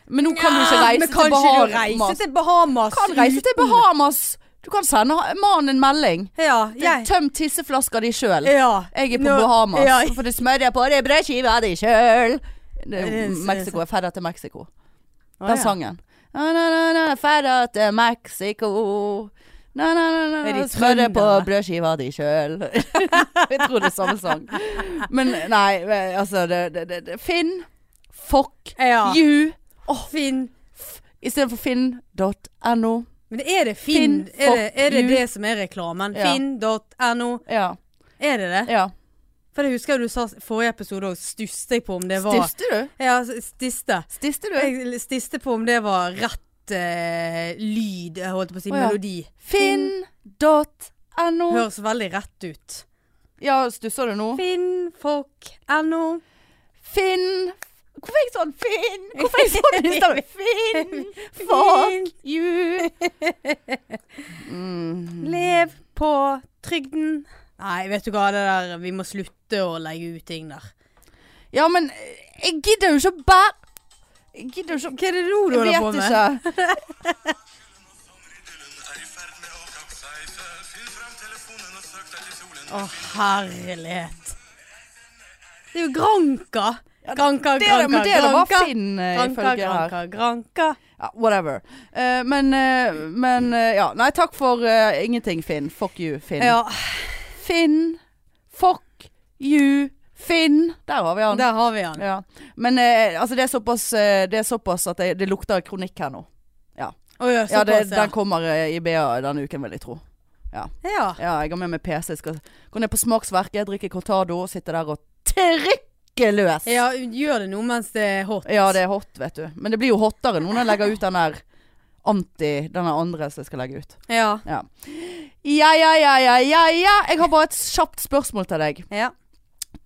Speaker 2: Men nå kan du ikke
Speaker 1: Ja,
Speaker 2: reise
Speaker 1: men
Speaker 2: til
Speaker 1: Kan ikke du
Speaker 2: Bahamas.
Speaker 1: reise til Bahamas?
Speaker 2: kan reise til
Speaker 1: uten-
Speaker 2: Bahamas. Du kan sende mannen en melding.
Speaker 1: Ja, jeg,
Speaker 2: Tøm tisseflasker di sjøl.
Speaker 1: ja.
Speaker 2: Jeg er på
Speaker 1: Nå-
Speaker 2: Bahamas,
Speaker 1: Ja,
Speaker 2: for det smører jeg på det brødskiva di sjøl.
Speaker 1: Det er-
Speaker 2: Mexico. Jeg ferder til Mexico.
Speaker 1: Å,
Speaker 2: Den
Speaker 1: ja.
Speaker 2: sangen. Na, na, na, na, ferder til Mexico. Na, na, na, na,
Speaker 1: Er de
Speaker 2: smører på
Speaker 1: trøndere?
Speaker 2: brødskiva di sjøl. jeg tror det er samme sang. Men nei, altså det, det, det, det. Finn. Fuck
Speaker 1: Ja.
Speaker 2: you.
Speaker 1: Finn.
Speaker 2: Istedenfor finn.no.
Speaker 1: Men er det Finn?
Speaker 2: Finn,
Speaker 1: er, det, er det
Speaker 2: fuck you.
Speaker 1: det som er reklamen?
Speaker 2: Ja.
Speaker 1: Finn.no.
Speaker 2: Ja.
Speaker 1: Er det det?
Speaker 2: ja.
Speaker 1: For det husker jeg du sa s- forrige episode òg, stusste jeg på om det var
Speaker 2: Stiste du?
Speaker 1: Ja, s- stiste.
Speaker 2: Stiste du?
Speaker 1: Jeg stiste på om det var rett eh, lyd, jeg holdt på å si
Speaker 2: Å, ja.
Speaker 1: melodi.
Speaker 2: Finn.no.
Speaker 1: Høres veldig rett ut.
Speaker 2: Ja, stusser du nå?
Speaker 1: Finnfolk.no.
Speaker 2: Finn Hvorfor er jeg sånn Finn? Hvorfor er jeg sånn i stedet? Finn, fuck you.
Speaker 1: Lev på trygden. Nei, vet du hva, det der Vi må slutte å legge ut ting der.
Speaker 2: Ja, men eh, jeg gidder jo ikke å bære Jeg gidder jo ikke
Speaker 1: Hva er det nå du
Speaker 2: å Jeg
Speaker 1: holder på
Speaker 2: vet
Speaker 1: med?
Speaker 2: ikke.
Speaker 3: er i ferd med å kapseise. Fyll frem telefonen og søk deg til solen.
Speaker 1: Å, herlighet. Det er jo Granka. Granka,
Speaker 2: Det, er det-
Speaker 1: Granka,
Speaker 2: men det, det var
Speaker 1: Granka.
Speaker 2: Finn, eh,
Speaker 1: Granka,
Speaker 2: ifølge her.
Speaker 1: Granka, Granka.
Speaker 2: Ja, whatever. Eh, men eh, men eh, ja. Nei, takk for eh, ingenting, Finn. Fuck you, Finn.
Speaker 1: Ja,
Speaker 2: Finn. Fuck you, Finn. Der har vi han.
Speaker 1: der har vi han.
Speaker 2: Ja. Men eh, altså, det er såpass, eh, det er såpass at det, det lukter kronikk her nå.
Speaker 1: Å, ja,
Speaker 2: Ja, det,
Speaker 1: såpass, ja.
Speaker 2: den kommer eh, i BA denne uken, vil jeg tro.
Speaker 1: ja.
Speaker 2: Ja, jeg har med meg PC. Jeg skal gå ned på Smaksverket, drikke cortado og sitte der og trykke løs.
Speaker 1: Ja, gjør det nå mens det er hot.
Speaker 2: Ja, det er hot, vet du. Men det blir jo hottere nå når jeg legger ut den der anti, den der andre som jeg skal legge ut.
Speaker 1: Ja.
Speaker 2: Ja. ja, ja, ja, ja, ja, ja. Jeg har bare et kjapt spørsmål til deg.
Speaker 1: ja.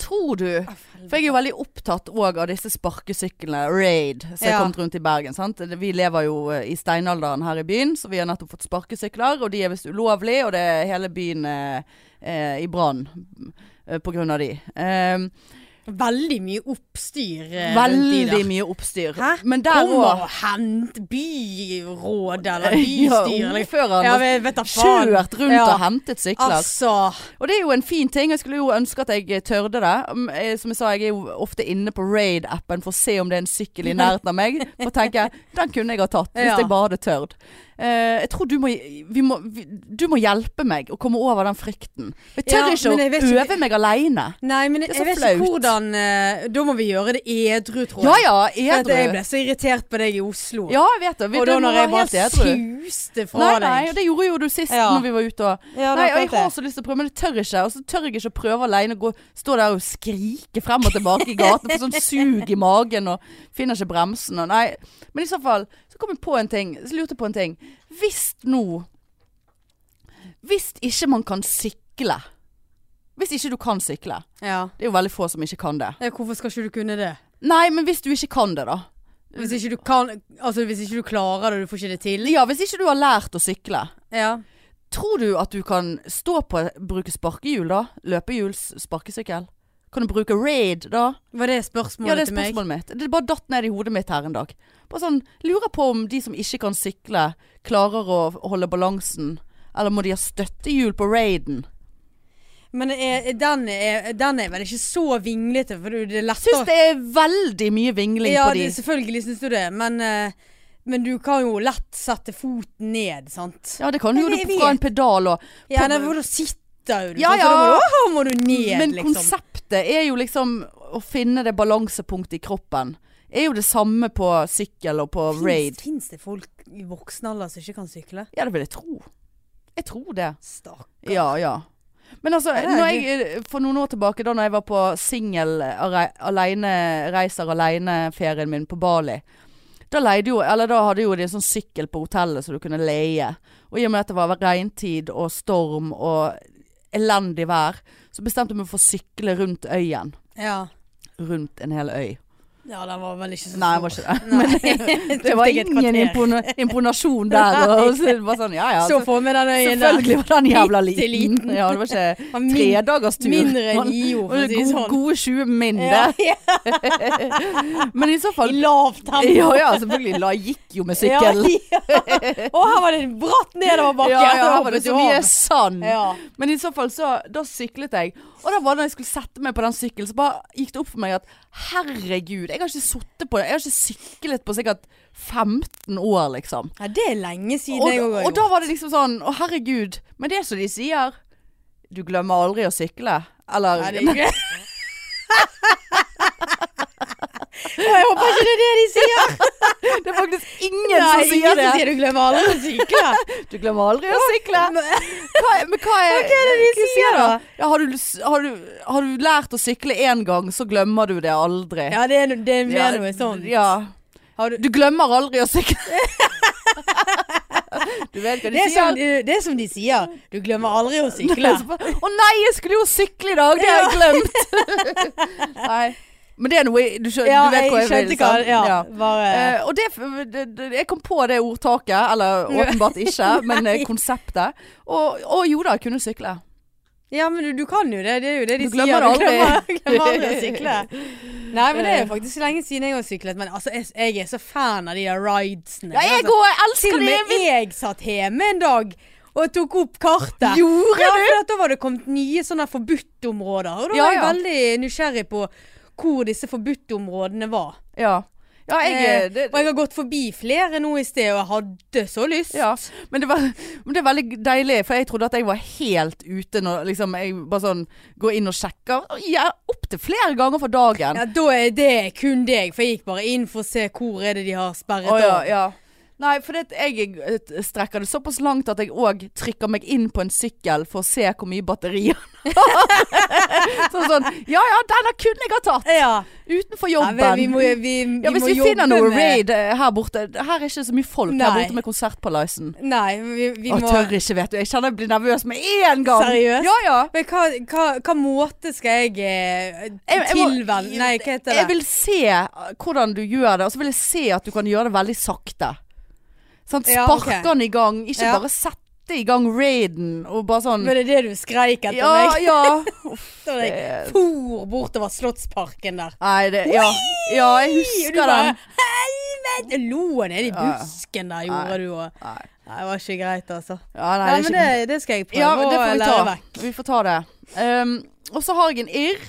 Speaker 2: Tror du
Speaker 1: Ah,
Speaker 2: For jeg er jo veldig opptatt òg av disse sparkesyklene, Raid, som er
Speaker 1: Ja.
Speaker 2: kommet rundt i Bergen. sant? Vi lever jo eh, i steinalderen her i byen, så vi har nettopp fått sparkesykler. Og de er visst ulovlige, og det er hele byen eh, eh, i brann eh, på grunn av de. Eh,
Speaker 1: Veldig mye oppstyr. eh, rundt
Speaker 2: veldig
Speaker 1: i der.
Speaker 2: mye oppstyr.
Speaker 1: Hæ?
Speaker 2: Men der
Speaker 1: Kom
Speaker 2: òg
Speaker 1: og hent byråd eller
Speaker 2: Ja, oh,
Speaker 1: bystyr. eller-
Speaker 2: ordføreren
Speaker 1: Ja,
Speaker 2: har
Speaker 1: vet, vet da faen.
Speaker 2: kjørt rundt
Speaker 1: Ja.
Speaker 2: og hentet sykler.
Speaker 1: Altså.
Speaker 2: Og det er jo en fin ting. Jeg skulle jo ønske at jeg tørde det. Um, eh, Som jeg sa, jeg er jo ofte inne på Raid-appen for å se om det er en sykkel i nærheten av meg. For å tenke den kunne jeg ha tatt hvis
Speaker 1: Ja.
Speaker 2: jeg bare hadde tørt. Eh, jeg tror du må, vi må, vi, du må hjelpe meg å komme over den frykten. Jeg tør
Speaker 1: Ja,
Speaker 2: ikke
Speaker 1: men jeg vet
Speaker 2: å
Speaker 1: ikke-
Speaker 2: øve meg aleine.
Speaker 1: Nei, men
Speaker 2: er
Speaker 1: jeg
Speaker 2: så
Speaker 1: vet ikke
Speaker 2: flaut.
Speaker 1: hvordan eh, Da må vi gjøre det edru, tror
Speaker 2: Ja
Speaker 1: jeg.
Speaker 2: ja,
Speaker 1: For at Jeg
Speaker 2: edru.
Speaker 1: ble så irritert på deg i Oslo.
Speaker 2: Ja, jeg vet det. Vi-
Speaker 1: og
Speaker 2: det
Speaker 1: da
Speaker 2: må
Speaker 1: når
Speaker 2: være
Speaker 1: jeg bare
Speaker 2: helt edru.
Speaker 1: suste fra
Speaker 2: Nei,
Speaker 1: deg.
Speaker 2: nei, og det gjorde jo du sist
Speaker 1: Ja.
Speaker 2: når vi var ute og
Speaker 1: Ja, det
Speaker 2: Nei,
Speaker 1: er
Speaker 2: og jeg
Speaker 1: akkurat
Speaker 2: har
Speaker 1: det.
Speaker 2: så lyst til å prøve, men det tør jeg ikke. Og så tør jeg ikke å prøve alene. Gå, stå der og skrike frem og tilbake i gaten. Få sånn sug i magen og finner ikke bremsen. Og nei. Men i så fall så kom jeg på en ting. Så lurte jeg på en ting. Hvis nå Hvis ikke man kan sykle Hvis ikke du kan sykle.
Speaker 1: ja.
Speaker 2: Det er jo veldig få som ikke kan det.
Speaker 1: Ja, Hvorfor Eh, skal ikke du kunne det?
Speaker 2: Nei, men hvis du ikke kan det, da. Mm.
Speaker 1: Hvis ikke du kan Altså hvis ikke du klarer det, du får ikke det til.
Speaker 2: Ja, hvis ikke du har lært å sykle.
Speaker 1: Ja.
Speaker 2: Tror du at du kan stå på Bruke sparkehjul, da? Løpehjuls sparkesykkel? Kan du bruke raid, da?
Speaker 1: Var det spørsmålet
Speaker 2: Ja, det er
Speaker 1: til meg?
Speaker 2: spørsmålet mitt. Det bare datt ned i hodet mitt her en dag. Bare sånn, Lurer på om de som ikke kan sykle, klarer å holde balansen. Eller må de ha støttehjul på raiden?
Speaker 1: Men er, den, er, den er vel ikke så vinglete, for det er
Speaker 2: Syns
Speaker 1: lettere
Speaker 2: det er veldig mye vingling
Speaker 1: Ja,
Speaker 2: på de.
Speaker 1: det, selvfølgelig syns du det, men, eh, men du kan jo lett sette foten ned, sant?
Speaker 2: Ja, det kan jo
Speaker 1: Men
Speaker 2: du
Speaker 1: jeg
Speaker 2: fra en pedal og
Speaker 1: Ja, nei, for da sitter jo du,
Speaker 2: Ja,
Speaker 1: sant? så da må du, «Åh, må du ned,
Speaker 2: Men
Speaker 1: liksom.
Speaker 2: konseptet er jo liksom å finne det balansepunktet i kroppen. Er jo det samme på sykkel og på raid.
Speaker 1: Fins det folk i voksen alder som ikke kan sykle?
Speaker 2: Ja, det vil jeg tro. Jeg tror det.
Speaker 1: Stakkar.
Speaker 2: Ja, ja. Men altså,
Speaker 1: det er
Speaker 2: når jeg, for noen år tilbake, da når jeg var på singel alene, reiser alene-ferien min på Bali, da, leide jo, eller da hadde jo de en sånn sykkel på hotellet som du kunne leie. Og i og med at det var regntid og storm og elendig vær, så bestemte vi meg for å sykle rundt øyen.
Speaker 1: Ja.
Speaker 2: Rundt en hel øy.
Speaker 1: ja, den var vel ikke så
Speaker 2: Nei, det var ikke det. Men det var ingen impona imponasjon der. Og så det var sånn, ja ja.
Speaker 1: Så for meg den øyen der.
Speaker 2: Selvfølgelig var den jævla
Speaker 1: Bitte
Speaker 2: liten.
Speaker 1: liten.
Speaker 2: Ja, det var ikke
Speaker 1: Han min-
Speaker 2: tredagerstur.
Speaker 1: Mindre
Speaker 2: Man-
Speaker 1: enn IO, for å si det
Speaker 2: Gode,
Speaker 1: sånn.
Speaker 2: gode 20 mindre.
Speaker 1: Ja, ja,
Speaker 2: Men i så
Speaker 1: I
Speaker 2: fall
Speaker 1: lavt tempo.
Speaker 2: Ja ja, selvfølgelig. La gikk jo med sykkel.
Speaker 1: Ja, ja. Å, her var det bratt nedoverbakke.
Speaker 2: Ja, ja, her var det så mye sand.
Speaker 1: Ja.
Speaker 2: Men i så fall så Da syklet jeg. Og da var det når jeg skulle sette meg på den sykkelen, så bare gikk det opp for meg at herregud, jeg har ikke sittet på Jeg har ikke syklet på sikkert 15 år, liksom.
Speaker 1: ja, det er lenge siden jeg
Speaker 2: Og,
Speaker 1: òg har
Speaker 2: og da var det liksom sånn Å, herregud. Men det er som de sier. Du glemmer aldri å sykle. Eller
Speaker 1: Nei, det er ikke- Jeg håper ikke det er det de sier.
Speaker 2: Det er faktisk ingen som
Speaker 1: ingen
Speaker 2: sier det.
Speaker 1: som sier du glemmer aldri å sykle.
Speaker 2: Du glemmer aldri å sykle.
Speaker 1: Men-
Speaker 2: Hva, er- men hva er,
Speaker 1: det de
Speaker 2: hva
Speaker 1: sier da?
Speaker 2: Ja, har, du, s- har, du, har du lært å sykle én gang, så glemmer du det aldri.
Speaker 1: Ja, det er, no- det er mer
Speaker 2: Ja,
Speaker 1: noe sånn.
Speaker 2: Ja.
Speaker 1: Har du-
Speaker 2: du glemmer aldri å sykle. du vet hva de
Speaker 1: Det er, som,
Speaker 2: sier.
Speaker 1: det er som de sier. Du glemmer aldri å
Speaker 2: Å
Speaker 1: sykle.
Speaker 2: nei, jeg skulle jo sykle i dag, det har jeg glemt. nei. Men det er noe Du, skjø,
Speaker 1: Ja,
Speaker 2: du vet
Speaker 1: jeg
Speaker 2: hva jeg,
Speaker 1: skjønte
Speaker 2: vil.
Speaker 1: hva
Speaker 2: sant?
Speaker 1: Ja, bare
Speaker 2: Eh, og det, det, det, jeg kom på det ordtaket, eller åpenbart ikke, men eh, konseptet. Og, og jo da, jeg kunne sykle.
Speaker 1: Ja, men du, du kan jo det. Det er jo det de
Speaker 2: Du
Speaker 1: sier.
Speaker 2: glemmer
Speaker 1: Du
Speaker 2: aldri. Eh.
Speaker 1: glemmer, glemmer aldri å sykle. Nei, men det er jo faktisk lenge siden jeg har syklet. Men altså, jeg, jeg er så fan av de der ridesene.
Speaker 2: Ja, jeg
Speaker 1: Altså,
Speaker 2: òg elsker
Speaker 1: Til og
Speaker 2: det!
Speaker 1: med jeg satt hjemme en dag og tok opp kartet.
Speaker 2: Gjorde
Speaker 1: ja, for at da var det kommet nye sånne forbudtområder. Og da
Speaker 2: Ja,
Speaker 1: var jeg
Speaker 2: ja.
Speaker 1: veldig nysgjerrig på hvor disse forbudtområdene var.
Speaker 2: Ja. ja, jeg
Speaker 1: Eh,
Speaker 2: eh, det,
Speaker 1: og jeg har gått forbi flere nå i sted, og jeg hadde så lyst.
Speaker 2: ja. Men, det var, men det er veldig deilig, for jeg trodde at jeg var helt ute når liksom, jeg bare sånn går inn og sjekker. Ja, Opptil flere ganger for dagen.
Speaker 1: Ja, da er det kun deg, for jeg gikk bare inn for å se hvor er det de har sperret
Speaker 2: Å, ja,
Speaker 1: av.
Speaker 2: ja. Nei, for det, at jeg eh, strekker det såpass langt at jeg òg trykker meg inn på en sykkel for å se hvor mye batterier den har. sånn, sånn Ja ja, denne kunne jeg ha tatt!
Speaker 1: Ja.
Speaker 2: Utenfor
Speaker 1: Ja,
Speaker 2: jobben.
Speaker 1: men vi må, vi, vi
Speaker 2: ja, hvis
Speaker 1: må
Speaker 2: vi
Speaker 1: jobbe
Speaker 2: finner noe
Speaker 1: med-
Speaker 2: raid eh, her borte Her er ikke så mye folk her
Speaker 1: Nei.
Speaker 2: borte med konsertpalassen.
Speaker 1: Nei, vi, vi
Speaker 2: Jeg
Speaker 1: må
Speaker 2: tør ikke, vet du. Jeg kjenner jeg blir nervøs med en gang.
Speaker 1: Seriøst?
Speaker 2: Ja, ja.
Speaker 1: Men hva, hva, hva måte skal jeg eh,
Speaker 2: Jeg- jeg må-
Speaker 1: tilvenne Nei, hva heter det?
Speaker 2: Jeg vil se eh, hvordan du gjør det, og så vil jeg se at du kan gjøre det veldig sakte. Sånn,
Speaker 1: Ja,
Speaker 2: spark
Speaker 1: ok.
Speaker 2: den i gang, ikke
Speaker 1: Ja.
Speaker 2: bare sette i gang raiden og bare sånn
Speaker 1: Var det det du skreik etter
Speaker 2: Ja,
Speaker 1: meg?
Speaker 2: ja.
Speaker 1: Da jeg
Speaker 2: det-
Speaker 1: for bortover Slottsparken der.
Speaker 2: Nei, det Ja, ja jeg
Speaker 1: Og du
Speaker 2: husker
Speaker 1: bare
Speaker 2: den.
Speaker 1: Helvete! Lo nede i
Speaker 2: Ja, ja.
Speaker 1: busken der,
Speaker 2: Nei.
Speaker 1: gjorde du òg.
Speaker 2: Nei.
Speaker 1: Nei, det var ikke greit, altså.
Speaker 2: Ja, nei,
Speaker 1: Nei,
Speaker 2: det er
Speaker 1: men
Speaker 2: ikke
Speaker 1: det, det skal jeg prøve
Speaker 2: Ja, men det
Speaker 1: å
Speaker 2: får vi
Speaker 1: lære
Speaker 2: ta.
Speaker 1: vekk.
Speaker 2: Vi får ta det. Ehm, og så har jeg en irr.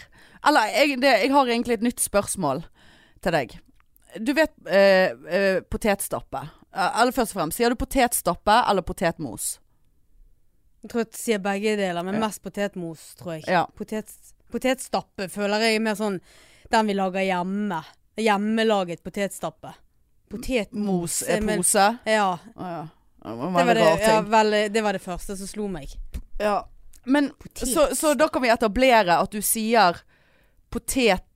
Speaker 2: Eller jeg, det, jeg har egentlig et nytt spørsmål til deg. Du vet eh, eh, potetstappe. Eh, Eller først og fremst, sier du potetstappe eller potetmos?
Speaker 1: Jeg tror jeg sier begge deler, men mest potetmos, tror jeg.
Speaker 2: Ja.
Speaker 1: Potet, potetstappe føler jeg er mer sånn den vi lager hjemme. Hjemmelaget potetstappe. Potetmos
Speaker 2: Mos er
Speaker 1: eh, men-
Speaker 2: pose.
Speaker 1: Ja.
Speaker 2: Å ja. Det var en
Speaker 1: Det var
Speaker 2: veldig
Speaker 1: det,
Speaker 2: rar
Speaker 1: ja,
Speaker 2: ting.
Speaker 1: vel, det var det første som slo meg.
Speaker 2: Ja. Men så, så da kan vi etablere at du sier potetmos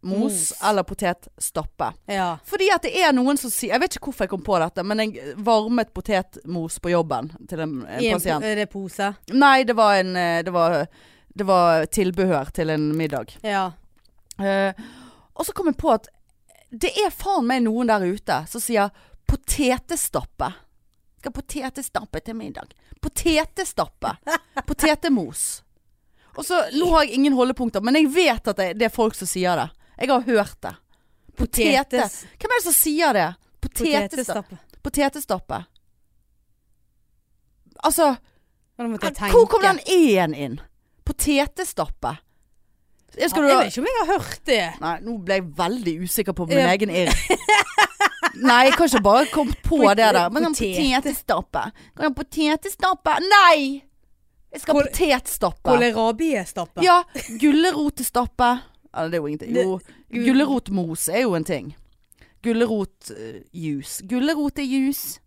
Speaker 1: Mos.
Speaker 2: eller potetstappe.
Speaker 1: Ja.
Speaker 2: Fordi at det er noen som sier Jeg vet ikke hvorfor jeg kom på dette, men jeg varmet potetmos på jobben til en, en
Speaker 1: I en, po-
Speaker 2: pasient.
Speaker 1: er det pose?
Speaker 2: Nei, det var en eh, Det var, det var tilbehør til en middag.
Speaker 1: Ja.
Speaker 2: Eh, Og så kom jeg på at det er faen meg noen der ute som sier potetstappe. Skal ha potetstappe til middag. Potetstappe. Potetmos. Og så, Nå har jeg ingen holdepunkter, men jeg vet at det, det er folk som sier det. Jeg har hørt det. Potete.
Speaker 1: Potetes.
Speaker 2: Hvem er det som sier det? Potetestappe.
Speaker 1: Potetstappe.
Speaker 2: Potetestappe. Altså
Speaker 1: Og da måtte jeg tenke.
Speaker 2: Hvor kom den e-en inn? Potetestappe. Jeg skal
Speaker 1: Ja,
Speaker 2: du
Speaker 1: jeg
Speaker 2: ha
Speaker 1: vet ikke om jeg har hørt det.
Speaker 2: Nei, nå ble jeg veldig usikker på min
Speaker 1: Ja.
Speaker 2: egen irr. Nei, jeg kan ikke bare komme på
Speaker 1: Pot-
Speaker 2: det der. Men en
Speaker 1: potet.
Speaker 2: potetstappe. Kan jeg ha potetstappe? Nei! Jeg skal ha
Speaker 1: Kål-
Speaker 2: potetstappe.
Speaker 1: Kålrabiestappe.
Speaker 2: Ja. Gulrotstappe. Eller det er jo ingenting.
Speaker 1: Det-
Speaker 2: Jo,
Speaker 1: gul-
Speaker 2: gulrotmos er jo en ting. Gulrotjuice. Gulrot er juice.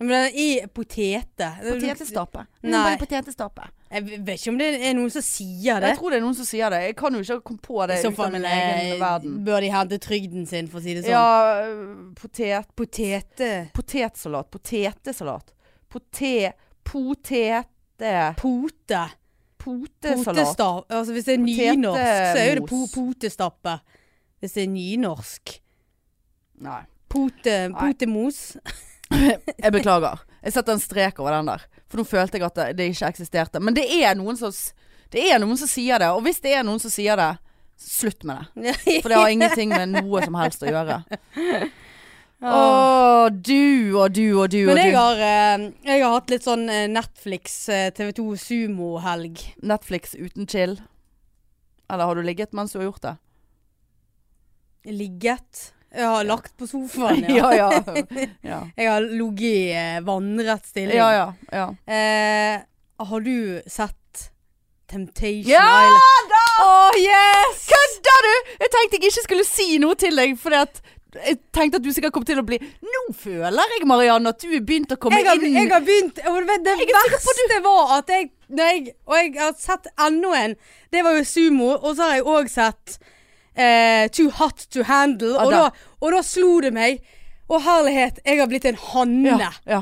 Speaker 1: Men den i potete.
Speaker 2: Potetstappe.
Speaker 1: Nei.
Speaker 2: Nei. Bare potetstappe.
Speaker 1: Jeg vet ikke om det er noen som sier det.
Speaker 2: Jeg tror det er noen som sier det. Jeg kan jo ikke komme på det
Speaker 1: I så
Speaker 2: ut av
Speaker 1: fall
Speaker 2: min
Speaker 1: eh,
Speaker 2: egen verden.
Speaker 1: bør de hente trygden sin, for å si det sånn.
Speaker 2: Ja, øh, potet
Speaker 1: Potete.
Speaker 2: Potetsalat. Potetesalat. Pote... eh, Potete...
Speaker 1: Pote.
Speaker 2: Potesalat.
Speaker 1: Potestapp. Altså, hvis det er
Speaker 2: Potete-
Speaker 1: nynorsk, så er jo det po
Speaker 2: mos.
Speaker 1: potestappe. Hvis det er nynorsk.
Speaker 2: Nei.
Speaker 1: Pote,
Speaker 2: Nei.
Speaker 1: potemos.
Speaker 2: Jeg beklager. Jeg setter en strek over den der. For nå følte jeg at det- det ikke eksisterte. Men det er noen som s- Det er noen som sier det. Og hvis det er noen som sier det, slutt med det. For det har ingenting med noe som helst å gjøre. Å, du og du og du og
Speaker 1: Men jeg
Speaker 2: du.
Speaker 1: har, eh, jeg har hatt litt sånn eh, Netflix eh, TV2 sumo-helg.
Speaker 2: Netflix uten chill. Eller har du ligget mens du har gjort det?
Speaker 1: Ligget. Jeg har lagt på sofaen, ja.
Speaker 2: ja. Ja
Speaker 1: Jeg har ligget i eh, vannrett stilling.
Speaker 2: ja. ja, ja.
Speaker 1: Eh, har du sett Temptation
Speaker 2: Ja
Speaker 1: Island?
Speaker 2: da!
Speaker 1: Å, yes!
Speaker 2: Kødder du?! Jeg tenkte jeg ikke skulle si noe til deg, for jeg tenkte at du sikkert kom til å bli Nå føler jeg, Marianne, at du er begynt å komme
Speaker 1: Jeg har,
Speaker 2: inn
Speaker 1: jeg har begynt og du vet, Det verste var at jeg, når jeg Og jeg har sett enda en. Det var jo sumo. Og så har jeg òg sett eh, Too Hot To Handle.
Speaker 2: Ja,
Speaker 1: Og da,
Speaker 2: da.
Speaker 1: og da slo det meg. Å herlighet, jeg har blitt en hanne.
Speaker 2: ja, ja.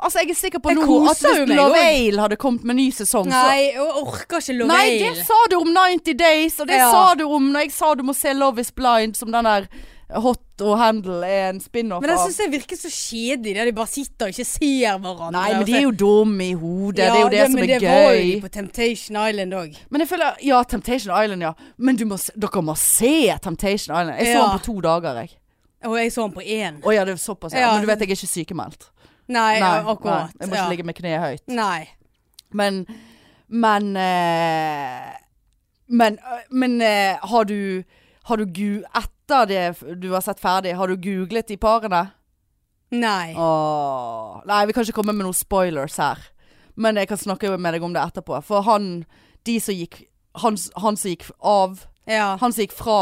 Speaker 2: Altså, jeg er sikker på
Speaker 1: Jeg
Speaker 2: nå at
Speaker 1: koser jo
Speaker 2: hvis
Speaker 1: meg
Speaker 2: Lavail hadde kommet med ny sesong, så
Speaker 1: Nei, jeg orker ikke
Speaker 2: Nei,
Speaker 1: Lorraine.
Speaker 2: det sa du om 90 Days, og det
Speaker 1: Ja.
Speaker 2: sa du om når jeg sa du må se Love Is Blind, som den der Hot og Handle er en spin-off
Speaker 1: Men jeg
Speaker 2: av.
Speaker 1: syns det virker så kjedelig der de bare sitter og ikke ser hverandre. Altså,
Speaker 2: Nei, men de er jo dumme i hodet.
Speaker 1: Ja,
Speaker 2: det er jo det, som
Speaker 1: men
Speaker 2: er
Speaker 1: Det var jo
Speaker 2: gøy.
Speaker 1: de på Temptation Island òg.
Speaker 2: Men jeg føler Ja, Temptation Island, ja. Men du må, se- dere må se Temptation Island. Jeg så
Speaker 1: Ja.
Speaker 2: den på to dager, jeg.
Speaker 1: Og jeg så den på én.
Speaker 2: Å ja, det er såpass. Ja.
Speaker 1: Ja.
Speaker 2: Men du vet jeg er ikke sykemeldt.
Speaker 1: Nei, ja, akkurat.
Speaker 2: nei, jeg må ikke
Speaker 1: ja.
Speaker 2: ligge med kneet høyt.
Speaker 1: Nei.
Speaker 2: Men Men eh, Men, eh, men eh, har du Har du gu... Etter det f- du har sett ferdig, har du googlet de parene?
Speaker 1: Nei.
Speaker 2: Åh. Nei, vi kan ikke komme med noen spoilers her. Men jeg kan snakke med deg om det etterpå. For han De som gikk Han, han som gikk av
Speaker 1: Ja.
Speaker 2: Han som gikk fra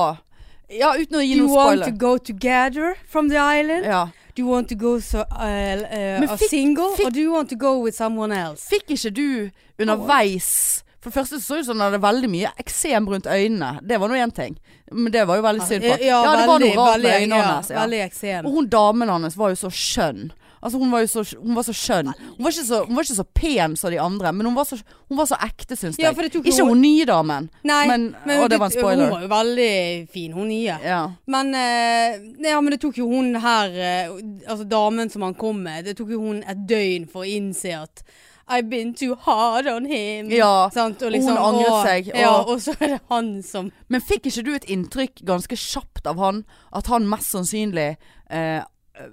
Speaker 2: Ja, uten å
Speaker 1: Do
Speaker 2: gi
Speaker 1: you
Speaker 2: noen
Speaker 1: want to
Speaker 2: spoiler.
Speaker 1: go together from the island?
Speaker 2: Ja.
Speaker 1: Do you want to go so, uh, uh,
Speaker 2: fikk-
Speaker 1: single?
Speaker 2: fikk-
Speaker 1: Or do you want to go with someone else?
Speaker 2: Fikk ikke du underveis For det første så ut som han hadde veldig mye eksem rundt øynene. Det var nå én ting. Men det var jo veldig synd. For.
Speaker 1: Eh, Ja,
Speaker 2: det var
Speaker 1: veldig,
Speaker 2: noe rart med
Speaker 1: veldig,
Speaker 2: øynene
Speaker 1: ja,
Speaker 2: hans. Ja.
Speaker 1: Veldig eksem.
Speaker 2: Og hun damen hans var jo så skjønn. Altså Hun var jo så, hun var så skjønn. Hun var, ikke så, hun var ikke så pen som de andre, men hun var så, hun var så ekte, syns
Speaker 1: Ja,
Speaker 2: jeg.
Speaker 1: for det tok jo
Speaker 2: ikke
Speaker 1: hun-
Speaker 2: hun nye damen.
Speaker 1: Nei,
Speaker 2: men, Å, det var en
Speaker 1: Hun
Speaker 2: spoiler.
Speaker 1: var jo veldig fin, hun nye.
Speaker 2: Ja.
Speaker 1: Men, eh, nei, ja, men det tok jo hun her, eh, altså damen som han kom med, det tok jo hun et døgn for å innse at I've been too hard on him.
Speaker 2: Ja,
Speaker 1: Sant? Og liksom,
Speaker 2: hun angret
Speaker 1: og-
Speaker 2: seg, og-
Speaker 1: Ja, og så er det han som
Speaker 2: Men fikk ikke du et inntrykk ganske kjapt av han at han mest sannsynlig eh,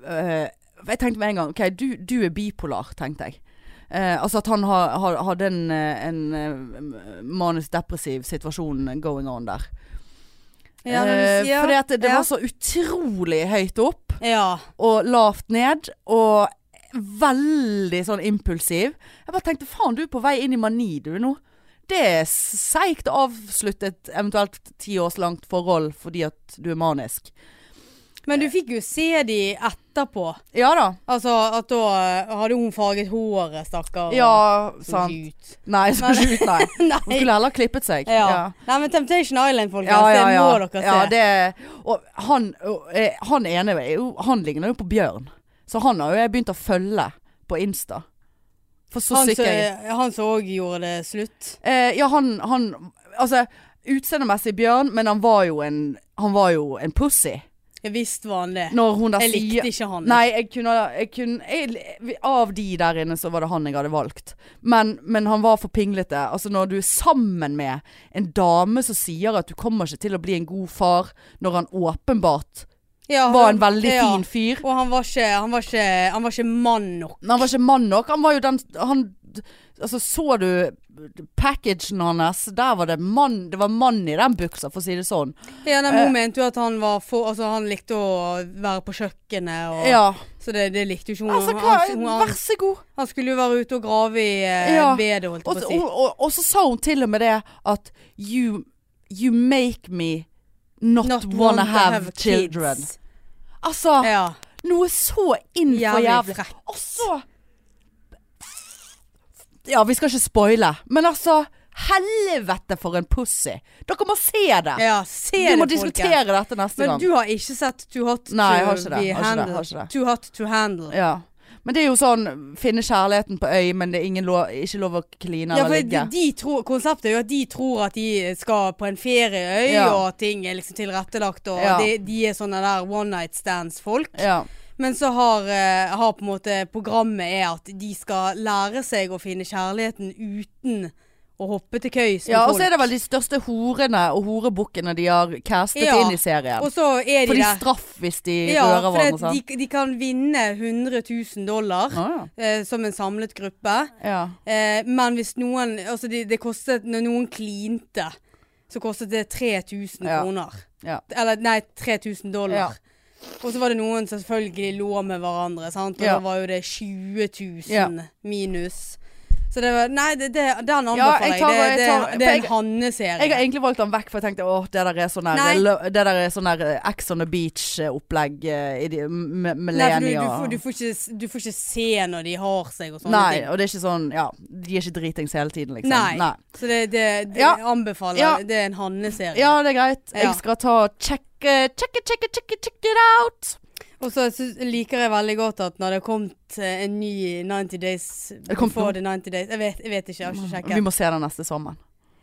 Speaker 2: eh, Jeg tenkte med en gang OK, du, du er bipolar, tenkte jeg. Eh, altså at han har- har- hadde en, eh, en eh, manisk depressiv situasjon going on der.
Speaker 1: Ja, når du sier-
Speaker 2: Eh, fordi at det, det
Speaker 1: ja.
Speaker 2: var så utrolig høyt opp
Speaker 1: Ja.
Speaker 2: og lavt ned, og veldig sånn impulsiv. Jeg bare tenkte faen, du er på vei inn i mani du nå. Det er seigt å avslutte et eventuelt ti års langt forhold fordi at du er manisk.
Speaker 1: Men du fikk jo se de etterpå.
Speaker 2: Ja da.
Speaker 1: Altså at da eh, hadde hun farget håret, stakkar. og
Speaker 2: Ja,
Speaker 1: så
Speaker 2: sant.
Speaker 1: ut.
Speaker 2: Nei, så ikke ut, nei. Hun
Speaker 1: Nei.
Speaker 2: skulle heller klippet seg.
Speaker 1: Ja. Nei, men Temptation Island, folkens,
Speaker 2: Ja, ja,
Speaker 1: det
Speaker 2: ja.
Speaker 1: må dere se.
Speaker 2: ja det, og han, og, eh, han ene er jo- Han ligner jo på Bjørn. Så han har jo jeg begynt å følge på Insta. For så
Speaker 1: han
Speaker 2: syk
Speaker 1: som-
Speaker 2: jeg
Speaker 1: han som òg gjorde det slutt.
Speaker 2: Eh, ja, han, han Altså, utseendemessig bjørn, men han var jo en, han var jo en pussy.
Speaker 1: Jeg visste var han det.
Speaker 2: Når hun da
Speaker 1: Jeg
Speaker 2: sier
Speaker 1: likte ikke han.
Speaker 2: altså, Nei, jeg kunne, jeg kunne jeg, Av de der inne så var det han jeg hadde valgt. Men, men han var for pinglete. Altså når du er sammen med en dame som sier at du kommer ikke til å bli en god far, når han åpenbart
Speaker 1: Ja,
Speaker 2: var
Speaker 1: han-
Speaker 2: en veldig
Speaker 1: Altså, ja.
Speaker 2: fin fyr.
Speaker 1: Og han var ikke, han var ikke, han var ikke mann nok.
Speaker 2: Men han var ikke mann nok. Han var jo den han, Altså, så du packagen hans? Der var det mann Det var mann i den buksa, for å si det sånn.
Speaker 1: Ja, nei, men Hun mente jo at han var for Altså, han likte å være på kjøkkenet og
Speaker 2: Ja.
Speaker 1: Så det, det likte jo ikke hun.
Speaker 2: Altså, hva,
Speaker 1: han, Mm. hun han,
Speaker 2: vær så god.
Speaker 1: han skulle jo være ute og grave i eh,
Speaker 2: Ja.
Speaker 1: bedet, holdt
Speaker 2: Og,
Speaker 1: jeg på å si.
Speaker 2: og, og, og så sa hun til og med det at You, you make me not, wanna have, children.
Speaker 1: kids.
Speaker 2: Altså,
Speaker 1: Ja.
Speaker 2: noe så inn for
Speaker 1: Jævlig
Speaker 2: jævlig.
Speaker 1: frekt.
Speaker 2: Og så Ja, vi skal ikke spoile, men altså Helvete for en pussy. Dere må se det.
Speaker 1: ja. Se
Speaker 2: vi
Speaker 1: det,
Speaker 2: Ah. må
Speaker 1: folkens.
Speaker 2: diskutere dette neste
Speaker 1: Men
Speaker 2: gang.
Speaker 1: du har ikke sett Too Hot
Speaker 2: Nei, jeg
Speaker 1: to
Speaker 2: har ikke det,
Speaker 1: Be
Speaker 2: har ikke det,
Speaker 1: Handled?
Speaker 2: har ikke det.
Speaker 1: Too Hot to Handle. Ja,
Speaker 2: Ja. Men det er jo sånn finne kjærligheten på øy, men det er ingen lov, ikke lov å kline
Speaker 1: for
Speaker 2: eller
Speaker 1: de,
Speaker 2: ligge.
Speaker 1: de tror, Konseptet er jo at de tror at de skal på en ferieøy,
Speaker 2: Ja.
Speaker 1: og at ting er liksom tilrettelagt. Og
Speaker 2: Ja.
Speaker 1: de, de er sånne der one night stands-folk.
Speaker 2: Ja.
Speaker 1: Men så har, eh, har på en måte programmet er at de skal lære seg å finne kjærligheten uten å hoppe til køys med
Speaker 2: Ja, og
Speaker 1: folk.
Speaker 2: så er det vel de største horene og horebukkene de har castet
Speaker 1: Ja,
Speaker 2: inn i serien.
Speaker 1: Og så er de
Speaker 2: For de
Speaker 1: der.
Speaker 2: straff hvis de
Speaker 1: Ja,
Speaker 2: rører
Speaker 1: for det,
Speaker 2: hverandre. sant?
Speaker 1: de, de kan vinne 100 000 dollar
Speaker 2: Ah,
Speaker 1: eh, som en samlet gruppe.
Speaker 2: ja.
Speaker 1: Eh, men hvis noen Altså, det de kostet Når noen klinte, så kostet det 3000
Speaker 2: Ja.
Speaker 1: kroner.
Speaker 2: Ja.
Speaker 1: Eller nei, 3000 dollar.
Speaker 2: Ja.
Speaker 1: Og så var det noen som selvfølgelig lå med hverandre, sant? og
Speaker 2: Ja.
Speaker 1: da var jo det 20 000
Speaker 2: Ja.
Speaker 1: minus. Så det var Nei, det, det, den anbefaler
Speaker 2: Ja, jeg
Speaker 1: jeg.
Speaker 2: tar-
Speaker 1: Det,
Speaker 2: jeg
Speaker 1: det,
Speaker 2: tar-
Speaker 1: det er
Speaker 2: for jeg-
Speaker 1: en Hanne-serie.
Speaker 2: Jeg har egentlig valgt den vekk, for jeg tenkte åh, det der er sånn her
Speaker 1: Nei.
Speaker 2: lø- Det der er sånn her eh, Ex on the beach-opplegg eh, i de, m-
Speaker 1: Nei, for du,
Speaker 2: millennia.
Speaker 1: du, får- du, får ikke, du får ikke se når de har seg og sånne
Speaker 2: Nei,
Speaker 1: ting.
Speaker 2: og det er ikke sånn Ja, de er ikke dritings hele tiden, liksom.
Speaker 1: Nei. Så det, det, det
Speaker 2: Ja.
Speaker 1: anbefaler
Speaker 2: Ja.
Speaker 1: Det er en Hanne-serie.
Speaker 2: Ja, det er greit.
Speaker 1: Ja.
Speaker 2: Jeg skal ta og sjekke, sjekke, sjekke, sjekke, check it out.
Speaker 1: Og så synes- liker jeg veldig godt at når det har kommet eh, en ny 90 Days
Speaker 2: det kommet
Speaker 1: Before
Speaker 2: noe?
Speaker 1: the 90 Days Jeg vet, jeg vet ikke, jeg har ikke sjekket.
Speaker 2: Vi må se den neste sommeren.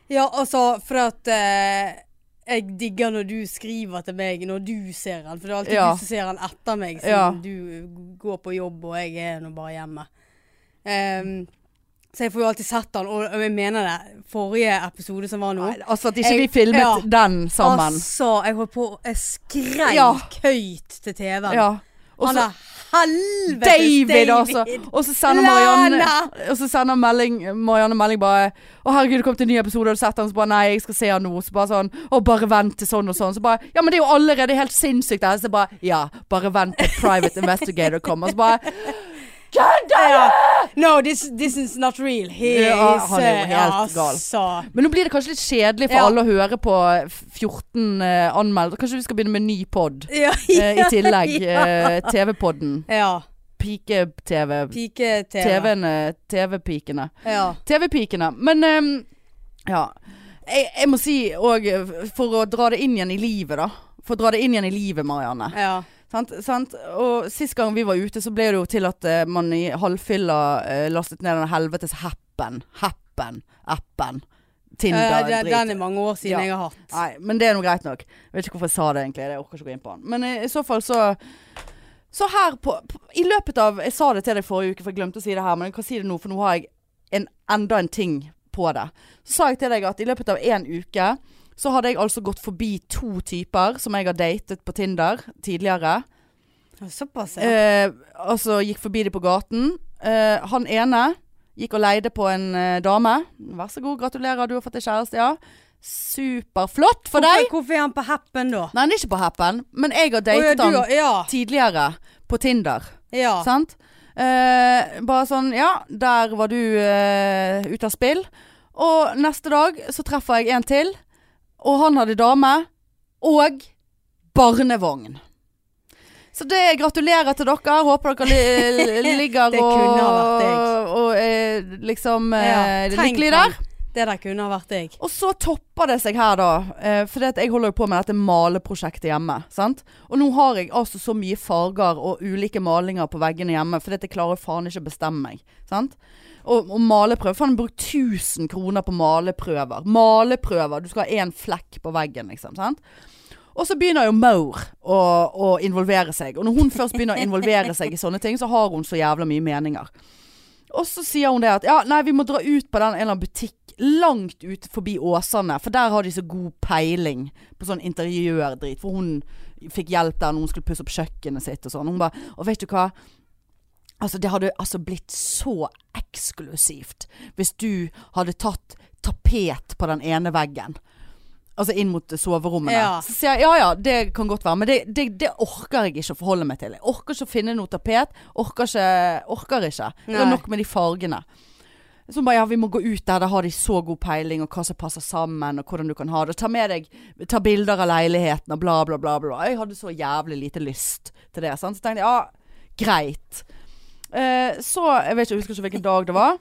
Speaker 1: Ja, altså, for at eh, jeg digger når du skriver til meg når du ser den. For det er alltid
Speaker 2: Ja.
Speaker 1: du som ser den etter meg, siden
Speaker 2: Ja.
Speaker 1: du går på jobb og jeg er nå bare hjemme. Ehm, så jeg får jo alltid sett den, og og jeg mener det. Forrige episode som var nå
Speaker 2: Altså at ikke
Speaker 1: Jeg-
Speaker 2: vi filmet
Speaker 1: ja.
Speaker 2: den sammen.
Speaker 1: Altså, jeg holdt på Jeg skreik
Speaker 2: Ja.
Speaker 1: høyt til TV-en.
Speaker 2: Ja. Og
Speaker 1: Han
Speaker 2: så-
Speaker 1: er helvete
Speaker 2: David, altså. Og så sender Marianne,
Speaker 1: Lana!
Speaker 2: og så sender melding, Marianne melding bare 'Å herregud, det kom til en ny episode, har du sett den?' Så bare 'Nei, jeg skal se han nå.' Så bare sånn 'Å, bare vent til sånn og sånn.' Så bare 'Ja, men det er jo allerede helt sinnssykt, det her.' Så bare 'Ja, bare vent til Private Investigator kommer.' Så bare
Speaker 1: Ja. No, this, this is not real. He
Speaker 2: Ja,
Speaker 1: is
Speaker 2: han er jo
Speaker 1: eh,
Speaker 2: helt gal. Eh,
Speaker 1: altså.
Speaker 2: Men nå blir det kanskje litt kjedelig for
Speaker 1: Ja.
Speaker 2: alle å høre på 14 eh, anmeldte. Kanskje vi skal begynne med en ny pod
Speaker 1: Ja,
Speaker 2: eh, i tillegg.
Speaker 1: Ja.
Speaker 2: Eh, TV-podden.
Speaker 1: Ja.
Speaker 2: Pike-TV.
Speaker 1: Pike-TV.
Speaker 2: TV-ene. TV-pikene.
Speaker 1: Ja.
Speaker 2: TV-pikene. Men ehm, ja. Jeg, jeg må si òg, for å dra det inn igjen i livet, da. For å dra det inn igjen i livet, Marianne.
Speaker 1: ja.
Speaker 2: Sant? Sant? Og sist gang vi var ute, så ble det jo til at eh, man i halvfylla eh, lastet ned den helvetes happen. Happen. Appen.
Speaker 1: Eh,
Speaker 2: Tinder.
Speaker 1: den,
Speaker 2: drit.
Speaker 1: den er mange år siden
Speaker 2: Ja.
Speaker 1: jeg har hatt.
Speaker 2: Nei, men det er nå greit nok. Jeg vet ikke hvorfor jeg sa det egentlig. Jeg orker ikke å gå inn på den. Men eh, i, i så fall så Så her på, på I løpet av Jeg sa det til deg forrige uke, for jeg glemte å si det her, men jeg kan si det nå, for nå har jeg en, enda en ting på det. Så sa jeg til deg at i løpet av én uke så hadde jeg altså gått forbi to typer som jeg har datet på Tinder tidligere.
Speaker 1: Såpass, ja.
Speaker 2: Eh, altså gikk forbi de på gaten. Eh, han ene gikk og leide på en eh, dame. Vær så god, gratulerer, du har fått deg kjæreste, ja. Superflott for deg!
Speaker 1: Hvorfor, hvorfor er han på happen da?
Speaker 2: Nei, han er ikke på Happen, men jeg har
Speaker 1: Å, ja,
Speaker 2: datet
Speaker 1: du,
Speaker 2: han
Speaker 1: ja.
Speaker 2: tidligere på Tinder.
Speaker 1: ja.
Speaker 2: Sant? Eh, bare sånn, ja, der var du eh, ute av spill. Og neste dag så treffer jeg en til, og han hadde dame og barnevogn. Så det gratulerer til dere. Håper dere li ligger
Speaker 1: Det kunne
Speaker 2: og,
Speaker 1: ha vært deg.
Speaker 2: og, eh, liksom
Speaker 1: Ja,
Speaker 2: eh,
Speaker 1: tenk
Speaker 2: lykkelig
Speaker 1: han.
Speaker 2: der.
Speaker 1: Det der kunne ha vært deg.
Speaker 2: Og så topper det seg her, da. Eh, for jeg holder jo på med dette maleprosjektet hjemme. Sant? Og nå har jeg altså så mye farger og ulike malinger på veggene hjemme, for jeg klarer faen ikke å bestemme meg. Sant? Og, og maleprøver. Faen, jeg har brukt 1000 kroner på maleprøver. Maleprøver. Du skal ha én flekk på veggen, liksom. Sant? Og så begynner jo Maur å, å involvere seg. Og når hun først begynner å involvere seg i sånne ting, så har hun så jævla mye meninger. Og så sier hun det at ja, nei, vi må dra ut på den en eller annen butikk langt ut forbi Åsane, for der har de så god peiling på sånn interiørdrit. For hun fikk hjelp der når hun skulle pusse opp kjøkkenet sitt og sånn. Hun bare Og vet du hva? Altså, det hadde altså blitt så eksklusivt hvis du hadde tatt tapet på den ene veggen. Altså inn mot soverommene.
Speaker 1: Ja.
Speaker 2: Så sier jeg ja ja, det kan godt være, men det, det, det orker jeg ikke å forholde meg til. Jeg orker ikke å finne noe tapet. Orker ikke. Orker ikke. Det
Speaker 1: Nei.
Speaker 2: er nok med de fargene. Så hun bare ja, vi må gå ut der, der har de så god peiling, og hva som passer sammen, og hvordan du kan ha det. Ta med deg ta bilder av leiligheten, og bla, bla, bla. bla. Jeg hadde så jævlig lite lyst til det. Sant? Så tenkte jeg ja, greit. Eh, så jeg vet ikke, jeg husker ikke hvilken dag det var.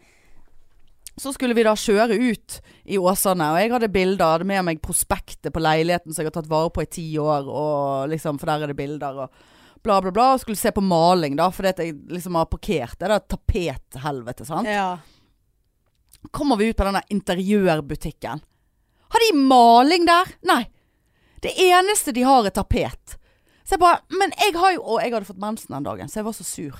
Speaker 2: Så skulle vi da kjøre ut i Åsane, og jeg hadde bilder. Hadde med meg prospektet på leiligheten som jeg har tatt vare på i ti år, og liksom, for der er det bilder. og Bla, bla, bla. Og skulle se på maling, da, fordi at jeg liksom har parkert. Det er da tapethelvete, sant
Speaker 1: Ja.
Speaker 2: kommer vi ut på denne interiørbutikken. Har de maling der? Nei. Det eneste de har er tapet. Så jeg bare Men jeg har jo Og jeg hadde fått mensen den dagen, så jeg var så sur.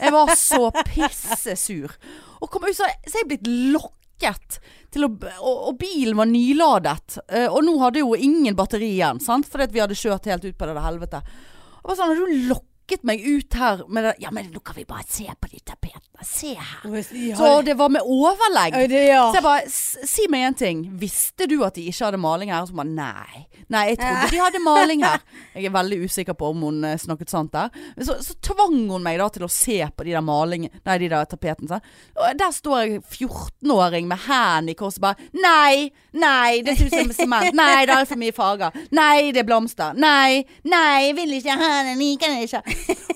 Speaker 2: Jeg var så pissesur. Og kom ut, så, så jeg er blitt lokket til å og, og bilen var nyladet. Eh, Og nå hadde jeg jo ingen batteri igjen, sant? fordi at vi hadde kjørt helt ut på det der helvete. Og bare sånn Har du lokket meg ut her med det Ja, men nå kan vi bare se på de tapetene. Se her. Så
Speaker 1: Så
Speaker 2: det var med overlegg.
Speaker 1: Oi, det- ja.
Speaker 2: Så jeg bare, "S- si meg en ting. Visste du at de ikke hadde maling her? Og så bare, nei. Nei, jeg trodde de hadde maling her. Jeg er veldig usikker på om hun eh, snakket sant der. Men Så, så tvang hun meg da til å se på de der malingen, nei, de der tapetene. sant? Og der står jeg 14-åring med hendene i kors og bare, nei, nei, det ser ut som sement. Nei, det er for mye farger. Nei, det er blomster. Nei, nei, jeg vil ikke ha den, jeg liker den ikke.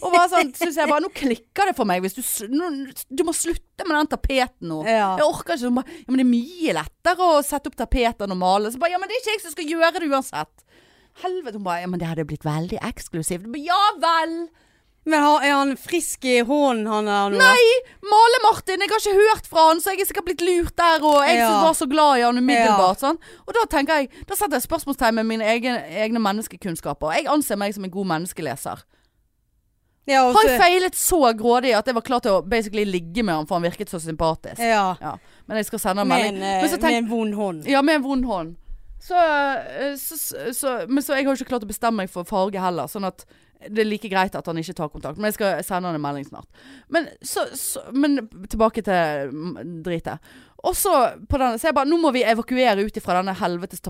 Speaker 2: Og bare sånn, synes jeg bare, nå klikker det for meg hvis du, s- nå, du må slutte med den tapeten nå.
Speaker 1: Ja.
Speaker 2: Jeg orker ikke, så bare, ja, men det er mye lettere å sette opp tapeter og male. Så bare, ja, men det er ikke jeg som skal gjøre det uansett. Helvete, hun bare, ja, men det hadde blitt veldig eksklusivt. Jeg bare, Ja vel!
Speaker 1: Men har, er han frisk i hånden, han der nå?
Speaker 2: Nei! Male-Martin, jeg har ikke hørt fra han, så jeg er sikkert blitt lurt der, og jeg
Speaker 1: Ja.
Speaker 2: som var så glad i han umiddelbart. Sånn. Og da tenker jeg, da setter jeg spørsmålstegn med mine egne, egne menneskekunnskaper. Jeg anser meg som en god menneskeleser.
Speaker 1: Ja, og
Speaker 2: Har
Speaker 1: så-
Speaker 2: jeg feilet så grådig at jeg var klar til å basically ligge med han, for han virket så sympatisk?
Speaker 1: Ja.
Speaker 2: Ja. Men jeg skal sende han
Speaker 1: Med
Speaker 2: melding.
Speaker 1: en, eh,
Speaker 2: Men så
Speaker 1: med
Speaker 2: tenk-
Speaker 1: en vond hånd.
Speaker 2: Ja, med en vond hånd. Så, eh, så, så, så, men så jeg har jo ikke klart å bestemme meg for farge heller, sånn at det er like greit at han ikke tar kontakt. Men jeg skal sende han en melding snart. Men, så, så, men tilbake til mm, dritet. Og så på denne, så jeg bare, nå må vi evakuere ut ifra denne helvetes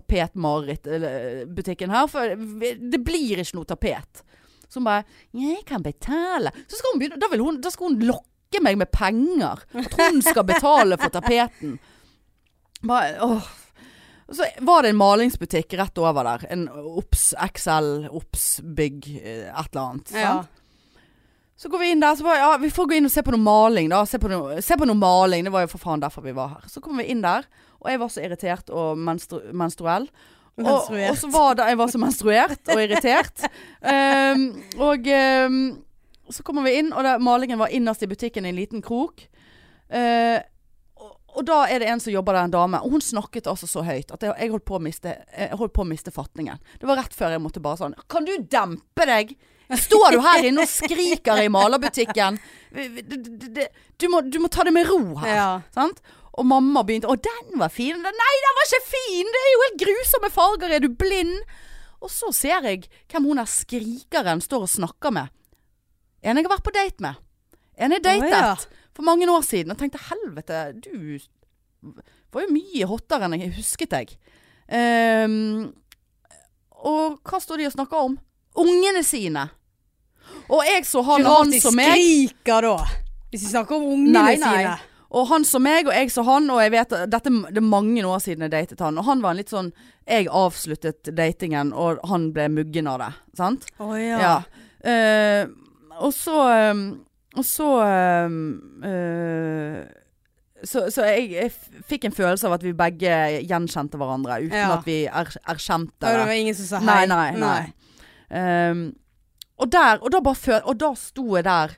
Speaker 2: tapet-mareritt-butikken her, for vi- det blir ikke noe tapet. Så hun bare, jeg kan betale. Så skal hun begynne, da, vil hun, da skal hun lokke meg med penger. At hun skal betale for tapeten. Bare, åh. Så var det en malingsbutikk rett over der. En Ops XL, Ops Bygg, eh, et eller annet.
Speaker 1: Ja.
Speaker 2: sant? Så går vi inn der, så bare, ja, vi får gå inn og se på noe maling da. Se på noe, se på noe maling, det var jo for faen derfor vi var her. Så kom vi inn der, og jeg var så irritert og menstru menstruell. Og,
Speaker 1: Menstruert.
Speaker 2: og så var det, jeg var så menstruert og irritert. Ehm, og ehm, så kommer vi inn, og da, malingen var innerst i butikken i en liten krok. Eh, og, og da er det en som jobber der, en dame. Og hun snakket altså så høyt at jeg, jeg, holdt på å miste, jeg holdt på å miste fatningen. Det var rett før jeg måtte bare sånn Kan du dempe deg? Står du her inne og skriker i malerbutikken? Det- det- det- Du må, du må ta det med ro her.
Speaker 1: Ja.
Speaker 2: Sant? Og mamma begynte Å, den var fin! Den- Nei, den var ikke fin! Det er jo helt grusomme farger! Er du blind? Og så ser jeg hvem hun der skrikeren står og snakker med. En jeg har vært på date med. En jeg datet
Speaker 1: Å, ja.
Speaker 2: for mange år siden. Og tenkte helvete, du var jo mye hottere enn jeg husket deg. Ehm, og hva står de og snakker om? Ungene sine. Og jeg så han,
Speaker 1: Ikke rart
Speaker 2: han
Speaker 1: de
Speaker 2: som meg.
Speaker 1: skriker da. Hvis vi snakker om ungene
Speaker 2: Nei, nei.
Speaker 1: sine.
Speaker 2: Og han som meg, og jeg som han, og jeg vet dette, Det er mange år siden jeg datet han. Og han var en litt sånn Jeg avsluttet datingen, og han ble muggen av det. Sant?
Speaker 1: Å ja.
Speaker 2: Ja. Eh, og så eh, Og så eh, eh, Så, så jeg, jeg f- fikk en følelse av at vi begge gjenkjente hverandre, uten
Speaker 1: Ja.
Speaker 2: at vi er, erkjente
Speaker 1: Det
Speaker 2: det.
Speaker 1: var ingen som sa hei.
Speaker 2: Nei, nei, nei. Ehm, og der, og da bare fø- og da sto jeg der.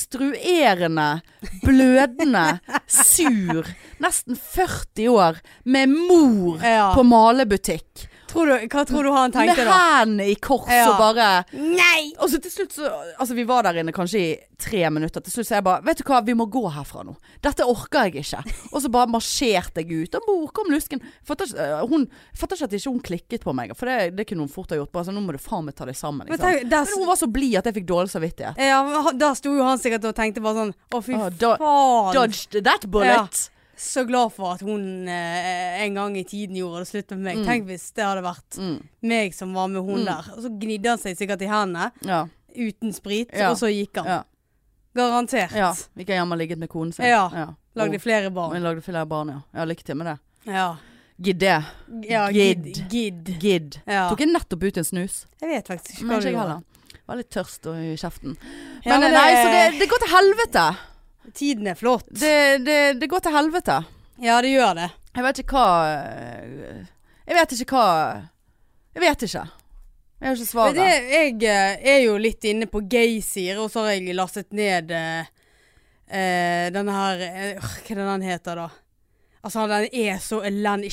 Speaker 2: Menstruerende, blødende, sur. Nesten 40 år, med mor
Speaker 1: Ja.
Speaker 2: på malebutikk.
Speaker 1: Tror du, hva tror du han
Speaker 2: Med
Speaker 1: tenkte da?
Speaker 2: hendene i kors
Speaker 1: Ja.
Speaker 2: og bare
Speaker 1: Nei!
Speaker 2: Og så til slutt så Altså, vi var der inne kanskje i tre minutter. Til slutt så jeg bare Vet du hva, vi må gå herfra nå. Dette orker jeg ikke. Og så bare marsjerte jeg ut. Og mor kom lusken. Fatter ikke, øh, hun, fatter ikke at ikke hun klikket på meg. For det, det kunne hun fort ha gjort. Bare sånn, nå må du faen meg ta deg sammen.
Speaker 1: Men
Speaker 2: Liksom.
Speaker 1: tenk, altså- der,
Speaker 2: Men hun var så blid at jeg fikk dårlig samvittighet.
Speaker 1: ja, men han- der sto jo han sikkert og tenkte bare sånn Å, fy
Speaker 2: Ah, da-
Speaker 1: faen.
Speaker 2: Dodged that bullet.
Speaker 1: Så glad for at hun eh, en gang i tiden gjorde det slutt med meg. Tenk hvis det hadde vært
Speaker 2: Mm.
Speaker 1: meg som var med hun der. Og så gnidde han seg sikkert i hendene
Speaker 2: Ja.
Speaker 1: uten sprit,
Speaker 2: Ja.
Speaker 1: og så gikk han.
Speaker 2: Ja.
Speaker 1: Garantert.
Speaker 2: ja. Gikk jeg hjem og ligget med konen sin.
Speaker 1: Ja.
Speaker 2: Lagde,
Speaker 1: Lagde flere barn.
Speaker 2: jeg lagde flere barn, ja. Ja, lykke til med det.
Speaker 1: Ja.
Speaker 2: Gidd det.
Speaker 1: ja
Speaker 2: Gidd.
Speaker 1: Gidd. Gidd.
Speaker 2: Gidd.
Speaker 1: Ja.
Speaker 2: Tok jeg nettopp ut en snus?
Speaker 1: Jeg vet faktisk ikke
Speaker 2: Men
Speaker 1: hva du
Speaker 2: ikke jeg
Speaker 1: gjorde.
Speaker 2: heller. Var litt tørst og i kjeften. Men,
Speaker 1: Ja, men
Speaker 2: nei,
Speaker 1: det-
Speaker 2: så det, det går til helvete.
Speaker 1: Tiden er flott.
Speaker 2: Det, det, det går til helvete.
Speaker 1: Ja, det gjør det.
Speaker 2: Jeg vet ikke hva øh, Jeg vet ikke hva Jeg vet ikke. Jeg har
Speaker 1: Men
Speaker 2: ikke svaret.
Speaker 1: det, jeg eh, er jo litt inne på gay-sider, og så har jeg lastet ned eh, eh, denne her eh, øh, Hva er det den heter, da? Altså, den er så elendig.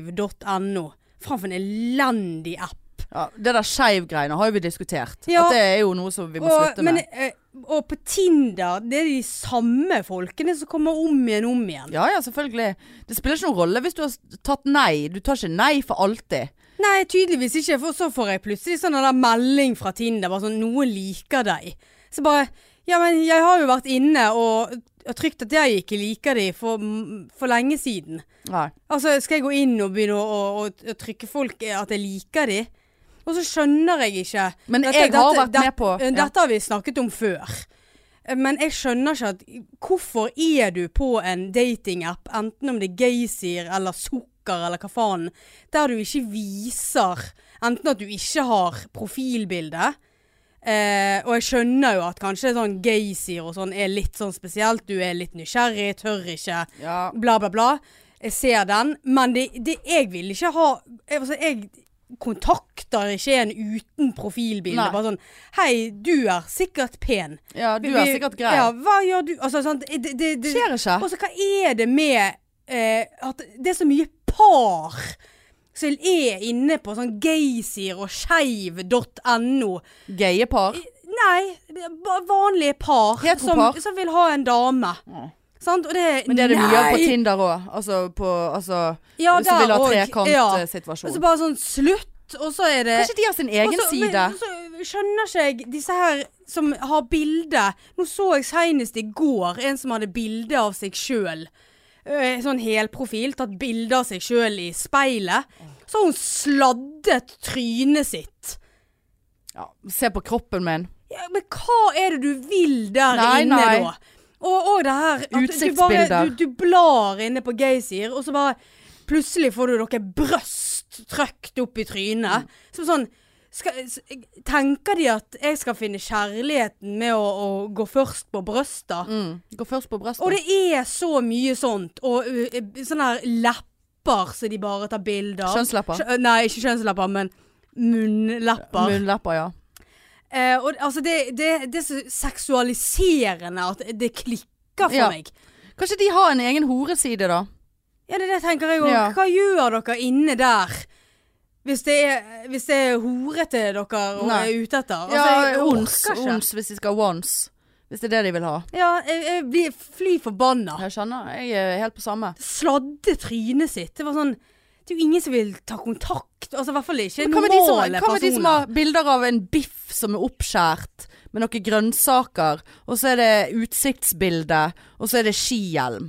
Speaker 1: Skeiv.no. Faen, for en elendig app.
Speaker 2: ja, det der skeiv-greiene har jo vi diskutert.
Speaker 1: Ja.
Speaker 2: At det er jo noe som vi må
Speaker 1: Og,
Speaker 2: slutte
Speaker 1: men,
Speaker 2: med.
Speaker 1: eh, og på Tinder, det er de samme folkene som kommer om igjen om igjen.
Speaker 2: Ja ja, selvfølgelig. Det spiller ikke noen rolle hvis du har s- tatt nei. Du tar ikke nei for alltid.
Speaker 1: Nei, tydeligvis ikke, for så får jeg plutselig sånn der melding fra Tinder, bare sånn 'Noen liker deg'. Så bare Ja, men jeg har jo vært inne og, og trykt at jeg ikke liker de for, for lenge siden.
Speaker 2: Nei.
Speaker 1: Altså, skal jeg gå inn og begynne å, å, å, å trykke folk eh, at jeg liker de? Og så skjønner jeg ikke
Speaker 2: Men jeg har vært med på-
Speaker 1: det-
Speaker 2: ja.
Speaker 1: Dette har vi snakket om før. Eh, Men jeg skjønner ikke at Hvorfor er du på en datingapp, enten om det er Gaysir eller Sukker eller hva faen, der du ikke viser Enten at du ikke har profilbilde, Eh, og jeg skjønner jo at kanskje sånn Gaysir og sånn er litt sånn spesielt. Du er litt nysgjerrig, tør ikke
Speaker 2: Ja.
Speaker 1: bla, bla, bla. Jeg ser den, men det, det, jeg vil ikke ha jeg- altså, Jeg kontakter ikke en uten profilbilde.
Speaker 2: Nei.
Speaker 1: Bare sånn Hei, du er sikkert pen.
Speaker 2: ja, du
Speaker 1: Vi-
Speaker 2: er
Speaker 1: vi-
Speaker 2: sikkert grei.
Speaker 1: Ja, hva gjør du? Altså, sant? Det, det,
Speaker 2: Det
Speaker 1: det,
Speaker 2: skjer ikke.
Speaker 1: og så hva er det med eh, at det er så mye par som er inne på sånn gaysir og skeiv.no.
Speaker 2: Gaye par.
Speaker 1: Nei, det er ba- vanlige par som,
Speaker 2: Heteropar.
Speaker 1: som vil ha en dame.
Speaker 2: Ja.
Speaker 1: Sant? Og det,
Speaker 2: Men det er det mye av på
Speaker 1: Nei!
Speaker 2: Tinder òg. Altså på altså,
Speaker 1: Ja,
Speaker 2: Hvis du vil ha eh,
Speaker 1: der og- ja. Og
Speaker 2: trekantsituasjon.
Speaker 1: så bare sånn slutt, og så er det
Speaker 2: Kanskje de har sin egen
Speaker 1: Og så- Eh, men-
Speaker 2: side.
Speaker 1: og Så skjønner ikke jeg disse her som har bilde. Nå så jeg senest i går en som hadde bilde av seg sjøl. Sånn helprofil. Tatt bilde av seg sjøl i speilet. Så har hun sladdet trynet sitt.
Speaker 2: Ja, se på kroppen min.
Speaker 1: Ja, men hva er det du vil der
Speaker 2: Nei,
Speaker 1: inne
Speaker 2: nei.
Speaker 1: da? Og, og det her at du, bare,
Speaker 2: Utsiktsbilder.
Speaker 1: du, du blar inne på Gaysir, og så bare plutselig får du dere brøst trøkt opp i trynet.
Speaker 2: Mm.
Speaker 1: Som sånn skal, s- Tenker de at jeg skal finne kjærligheten med å, å gå først på brøsta?
Speaker 2: Mm. Gå først på brystet.
Speaker 1: Og det er så mye sånt. Og ø, ø, sånne her lepper som de bare tar bilde av.
Speaker 2: Kjønnslepper.
Speaker 1: Kjø- Nei, ikke kjønnslepper, men munnlepper.
Speaker 2: Munnlepper, ja.
Speaker 1: Eh, og altså, det, det, det er så seksualiserende at det klikker for
Speaker 2: Ja.
Speaker 1: meg.
Speaker 2: Kanskje de har en egen horeside, da.
Speaker 1: Ja, det er det tenker jeg òg.
Speaker 2: Ja.
Speaker 1: Hva gjør dere inne der? Hvis det er, hvis det er horete dere og
Speaker 2: Nei.
Speaker 1: er ute etter. Altså,
Speaker 2: Ja,
Speaker 1: jeg
Speaker 2: ons,
Speaker 1: orker ikke.
Speaker 2: ons hvis de skal ha ones. Hvis det er det de vil ha.
Speaker 1: Ja, jeg, jeg blir fly forbanna.
Speaker 2: Jeg skjønner. Jeg er helt på samme.
Speaker 1: Sladde trynet sitt. Det var sånn Det er jo ingen som vil ta kontakt. Altså i hvert fall ikke
Speaker 2: Men hva med, de som,
Speaker 1: normale
Speaker 2: hva med de som
Speaker 1: personer.
Speaker 2: har bilder av en biff som er oppskjært med noen grønnsaker, og så er det utsiktsbilde, og så er det skihjelm?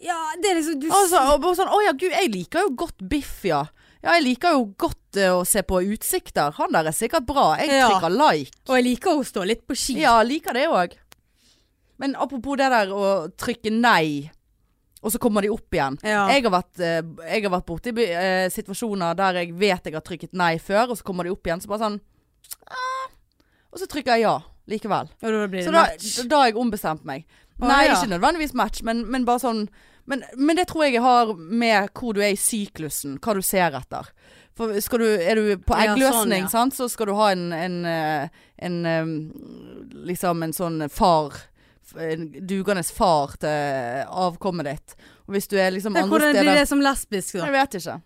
Speaker 1: Ja, det er liksom du,
Speaker 2: Altså, og bare sånn, Å ja, gud, jeg liker jo godt biff, ja. Ja, jeg liker jo godt eh, å se på utsikter. Han der er sikkert bra. Jeg
Speaker 1: Ja. Mm.
Speaker 2: trykker like.
Speaker 1: Og jeg liker å stå litt på ski.
Speaker 2: Ja, liker det òg. Men apropos det der å trykke nei, og så kommer de opp igjen.
Speaker 1: Ja.
Speaker 2: Jeg har vært, eh, jeg har vært borti eh, situasjoner der jeg vet jeg har trykket nei før, og så kommer de opp igjen, så bare sånn ah. Og så trykker jeg ja. likevel.
Speaker 1: Og da blir
Speaker 2: Så
Speaker 1: det
Speaker 2: da,
Speaker 1: match.
Speaker 2: da har jeg ombestemt meg.
Speaker 1: Å,
Speaker 2: Nei,
Speaker 1: ja.
Speaker 2: ikke nødvendigvis match, men, men bare sånn men, men det tror jeg jeg har med hvor du er i syklusen, hva du ser etter. For skal du, er du på
Speaker 1: Ja, sånn,
Speaker 2: eggløsning,
Speaker 1: ja.
Speaker 2: sant? så skal du ha en, en, eh, en, eh, Liksom en sånn far En dugende far til avkommet ditt. Og hvis du er liksom
Speaker 1: Ja,
Speaker 2: andre
Speaker 1: Hvordan blir
Speaker 2: steder
Speaker 1: det som lesbisk, da?
Speaker 2: Jeg vet ikke.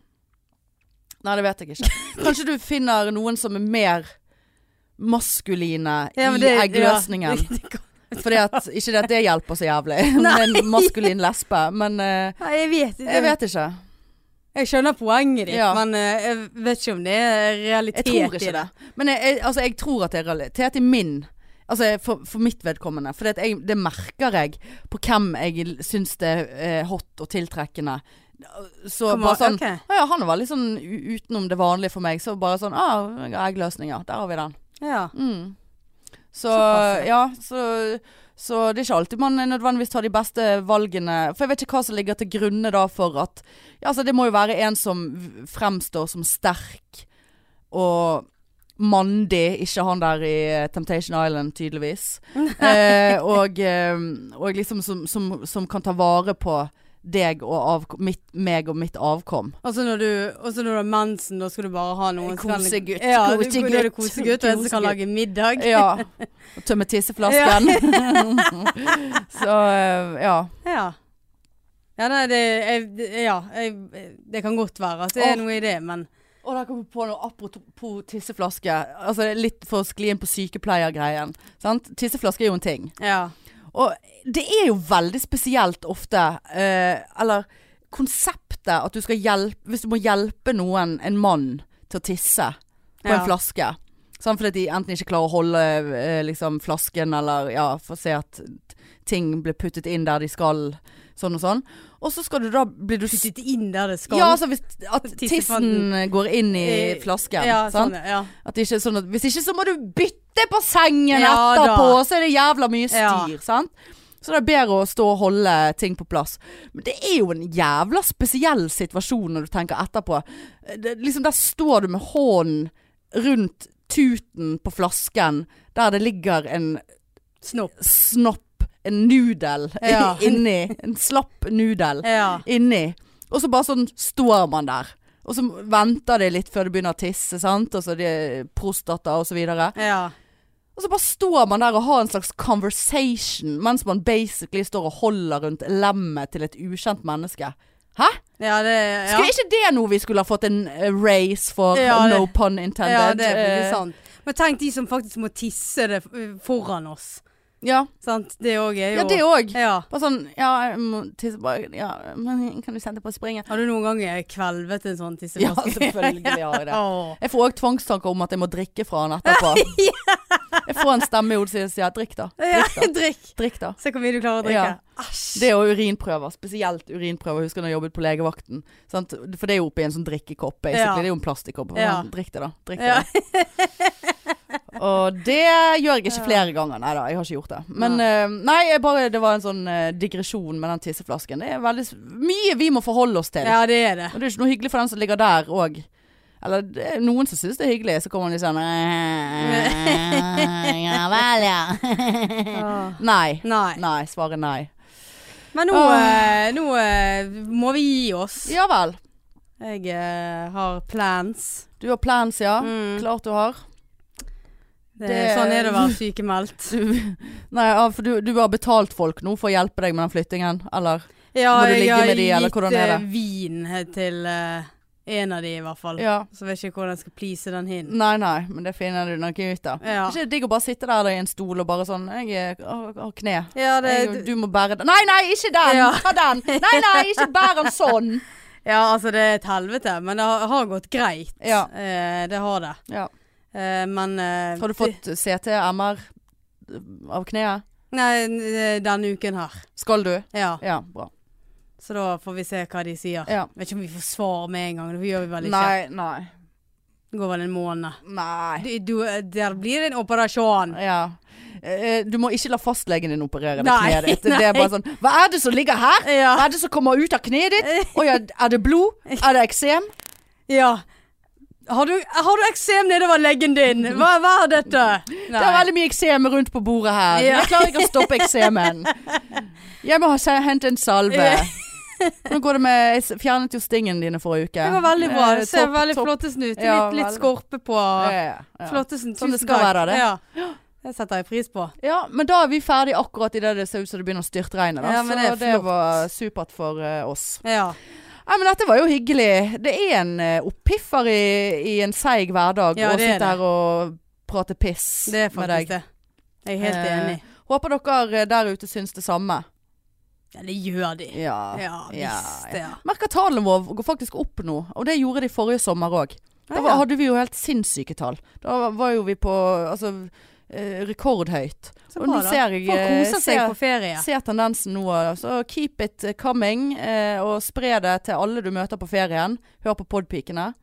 Speaker 2: Nei, det vet jeg ikke. Kanskje du finner noen som er mer maskuline
Speaker 1: Ja, men
Speaker 2: i
Speaker 1: det- ja.
Speaker 2: eggløsningen. Fordi at, ikke det at det hjelper så jævlig med en maskulin lesbe, men eh,
Speaker 1: Nei, jeg vet ikke.
Speaker 2: jeg vet ikke.
Speaker 1: Jeg skjønner poenget ditt,
Speaker 2: Ja.
Speaker 1: men eh, jeg vet ikke om det er
Speaker 2: Jeg
Speaker 1: realitet
Speaker 2: tror
Speaker 1: i
Speaker 2: ikke
Speaker 1: det.
Speaker 2: det. Men jeg, jeg, altså, jeg tror at det er realitet i min Altså for, for mitt vedkommende. For det, at jeg, det merker jeg på hvem jeg syns det er hot og tiltrekkende. Så
Speaker 1: Kommer-
Speaker 2: bare sånn
Speaker 1: ok.
Speaker 2: «Å ja, han er veldig sånn u- utenom det vanlige for meg. Så bare sånn Å, ah, eggløsninger. Der har vi den.
Speaker 1: Ja.
Speaker 2: Mm. Så
Speaker 1: Såpass, ja.
Speaker 2: ja, så, så det er ikke alltid man nødvendigvis tar de beste valgene. For jeg vet ikke hva som ligger til grunne da for at ja, altså Det må jo være en som v- fremstår som sterk og mandig. Ikke han der i eh, Temptation Island, tydeligvis. Eh, og, eh, og liksom som, som, som kan ta vare på deg og avk- mitt, meg og mitt avkom.
Speaker 1: Og så når, du- og så når du har mensen, da skal du bare ha noen som kan-
Speaker 2: Kosegutt,
Speaker 1: Ja, du-
Speaker 2: kosegutt,
Speaker 1: da er det kosegutt, og en som kan
Speaker 2: kosegutt.
Speaker 1: lage middag.
Speaker 2: Ja. Og tømme tisseflasken. så eh, ja.
Speaker 1: Ja. Ja, nei, det, jeg, det- ja jeg, det kan godt være at det er
Speaker 2: Åh.
Speaker 1: noe i det, men
Speaker 2: Og der kom jeg på noe apropos tisseflaske. Altså det er litt for å skli inn på sykepleiergreien. Sant? Tisseflaske er jo en ting.
Speaker 1: ja.
Speaker 2: Og det er jo veldig spesielt ofte eh, Eller konseptet at du skal hjelpe Hvis du må hjelpe noen, en mann, til å tisse på
Speaker 1: Ja.
Speaker 2: en flaske. Sant? Fordi at de enten ikke klarer å holde eh, liksom, flasken, eller ja, få se at ting blir puttet inn der de skal, sånn og sånn. Og så skal du da Blir du
Speaker 1: Puttet inn der det skal.
Speaker 2: ja, altså hvis, at tissen
Speaker 1: Tissepadden.
Speaker 2: går inn i
Speaker 1: Eh,
Speaker 2: flasken.
Speaker 1: Ja,
Speaker 2: sant?
Speaker 1: sånn, ja.
Speaker 2: At det ikke er sånn at, hvis ikke så må du bytte på sengen
Speaker 1: Ja, da.
Speaker 2: etterpå, så er det jævla mye
Speaker 1: Ja.
Speaker 2: styr. Sant? Så det er bedre å stå og holde ting på plass. Men det er jo en jævla spesiell situasjon når du tenker etterpå. Det, liksom Der står du med hånden rundt tuten på flasken, der det ligger en
Speaker 1: Snopp.
Speaker 2: snopp, en nudel
Speaker 1: Ja.
Speaker 2: inni. En slapp nudel
Speaker 1: Ja.
Speaker 2: inni. Og så bare sånn står man der. Og så venter de litt før de begynner å tisse, sant. Og så de prostata og så videre.
Speaker 1: ja.
Speaker 2: Og så bare står man der og har en slags conversation mens man basically står og holder rundt lemmet til et ukjent menneske. Hæ?
Speaker 1: Ja, det ja.
Speaker 2: Skulle ikke det noe vi skulle ha fått en eh, race for?
Speaker 1: Ja, det-
Speaker 2: no pun intended.
Speaker 1: ja, det er
Speaker 2: Eh,
Speaker 1: faktisk sant. Men tenk de som faktisk må tisse det eh, foran oss.
Speaker 2: Ja,
Speaker 1: Sant? Det òg er jo
Speaker 2: ja det òg.
Speaker 1: Ja.
Speaker 2: Bare sånn Ja, jeg må tisse bare Ja, men kan du sende på springet?
Speaker 1: Har du noen gang eh, kvelvet en sånn
Speaker 2: Ja,
Speaker 1: tisseflaske?
Speaker 2: selvfølgelig har jeg det.
Speaker 1: Åh.
Speaker 2: Jeg får òg tvangstanker om at jeg må drikke fra han etterpå. Jeg får en stemme i hodet som sier 'drikk, da'.
Speaker 1: Ja,
Speaker 2: Drikk, da.
Speaker 1: drikk.
Speaker 2: Drikk da.
Speaker 1: Se hvor mye du klarer å
Speaker 2: Ja.
Speaker 1: drikke. Æsj.
Speaker 2: Det og urinprøver. Spesielt urinprøver. Jeg Husker da jeg jobbet på legevakten. Sant? For det er jo oppi en sånn drikkekopp. Basically.
Speaker 1: Ja.
Speaker 2: Det er jo en plastikkopp.
Speaker 1: Ja.
Speaker 2: Drikk det, da. Drikk det,
Speaker 1: Ja.
Speaker 2: da. Og det gjør jeg ikke flere ganger. Nei da, jeg har ikke gjort det. Men eh, nei, jeg bare, det var en sånn eh, digresjon med den tisseflasken. Det er veldig s- mye vi må forholde oss til.
Speaker 1: Ja, det er det.
Speaker 2: Og det er ikke noe hyggelig for den som ligger der òg. Eller det er noen som syns det er hyggelig, så kommer han litt sånn «Eh, Ja vel, ja.
Speaker 1: Åh.
Speaker 2: Nei.
Speaker 1: Nei.
Speaker 2: Nei. Svaret nei.
Speaker 1: Men nå,
Speaker 2: Åh.
Speaker 1: eh, nå eh, må vi gi oss.
Speaker 2: Ja vel.
Speaker 1: Jeg eh, har plans.
Speaker 2: Du har plans, ja.
Speaker 1: Mm.
Speaker 2: Klart du har.
Speaker 1: Det,
Speaker 2: Det-
Speaker 1: Sånn er det å være sykemeldt.
Speaker 2: Du, nei, ja, for du, du har betalt folk nå for å hjelpe deg med den flyttingen, eller?
Speaker 1: Ja,
Speaker 2: Må du ligge
Speaker 1: jeg har
Speaker 2: med de, eller
Speaker 1: gitt
Speaker 2: hvordan er
Speaker 1: eh,
Speaker 2: det?
Speaker 1: vin til eh, en av de i hvert fall.
Speaker 2: Ja. Mm.
Speaker 1: Så vet jeg ikke hvordan jeg skal please den hin.
Speaker 2: Nei, nei, men det finner du nok ut av.
Speaker 1: Ja.
Speaker 2: Ikke det digg å bare sitte der da i en stol og bare sånn Jeg eh, har har kne.
Speaker 1: Ja, det,
Speaker 2: Jeg, du må bære den. Nei, nei, ikke den!
Speaker 1: Ja.
Speaker 2: Ta den! Nei, nei, ikke bær den sånn!
Speaker 1: ja, altså det er et helvete, men det har, har gått greit.
Speaker 2: Ja.
Speaker 1: Eh, det har det.
Speaker 2: Ja.
Speaker 1: Eh, men eh,
Speaker 2: Har du fått CT, MR av kneet?
Speaker 1: Nei, n- eh, denne uken her.
Speaker 2: Skal du?
Speaker 1: Ja.
Speaker 2: Ja, bra.
Speaker 1: Så da får vi se hva de sier.
Speaker 2: Ja.
Speaker 1: Vet ikke om vi får svar med en gang. Det gjør vi vel ikke.
Speaker 2: Nei, nei.
Speaker 1: Det går vel en måned.
Speaker 2: Nei.
Speaker 1: Du, du, der blir det en operasjon.
Speaker 2: Ja. Eh, Du må ikke la fastlegen din operere det
Speaker 1: Nei,
Speaker 2: kneet ditt. Det er
Speaker 1: nei.
Speaker 2: bare sånn Hva er det som ligger her?
Speaker 1: Ja.
Speaker 2: Hva er det som kommer ut av kneet ditt? Å ja, er det blod? Er det eksem?
Speaker 1: Ja. Har du, har du eksem nedover leggen din? Hva, hva er dette?
Speaker 2: Det er veldig mye eksem rundt på bordet her.
Speaker 1: Ja.
Speaker 2: Jeg klarer ikke å stoppe eksemen. Jeg må ha se- hente en salve.
Speaker 1: Ja.
Speaker 2: Hvordan går det med Jeg s- fjernet jo stingen dine forrige uke.
Speaker 1: Det var veldig bra.
Speaker 2: Eh,
Speaker 1: Det ser
Speaker 2: topp-
Speaker 1: veldig
Speaker 2: topp-
Speaker 1: flottesen ut.
Speaker 2: Ja,
Speaker 1: Litt, litt
Speaker 2: veldig.
Speaker 1: skorpe på
Speaker 2: Ja, ja, ja.
Speaker 1: flottesen.
Speaker 2: Sånn det
Speaker 1: Tusen
Speaker 2: skal
Speaker 1: takk.
Speaker 2: være, det.
Speaker 1: Ja. Det setter jeg pris på.
Speaker 2: Ja, men da er vi ferdig akkurat idet det ser ut som det begynner å styrtregne. Da.
Speaker 1: Ja, men det er
Speaker 2: så det
Speaker 1: flott.
Speaker 2: var supert for eh, oss.
Speaker 1: Ja.
Speaker 2: Nei, men dette var jo hyggelig. Det er en eh, oppiffer i, i en seig hverdag
Speaker 1: Ja,
Speaker 2: å
Speaker 1: det er
Speaker 2: sitte
Speaker 1: det.
Speaker 2: her og prate piss
Speaker 1: Det er
Speaker 2: med deg.
Speaker 1: faktisk det. Jeg er helt
Speaker 2: Eh,
Speaker 1: enig.
Speaker 2: Håper dere eh, der ute syns det samme.
Speaker 1: Ja, det gjør de.
Speaker 2: Ja.
Speaker 1: Ja visst,
Speaker 2: ja.
Speaker 1: ja.
Speaker 2: Merker tallene våre går faktisk opp nå, og det gjorde de forrige sommer òg. Da
Speaker 1: Ja,
Speaker 2: var,
Speaker 1: ja.
Speaker 2: hadde vi jo helt sinnssyke tall. Da var jo vi på altså, eh, rekordhøyt.
Speaker 1: Så
Speaker 2: og
Speaker 1: bra,
Speaker 2: nå
Speaker 1: da.
Speaker 2: ser jeg
Speaker 1: Folk
Speaker 2: eh,
Speaker 1: koser seg
Speaker 2: ser-
Speaker 1: på ferie.
Speaker 2: Se tendensen nå, så keep it coming, eh, og spre det til alle du møter på ferien. Hør på Podpikene.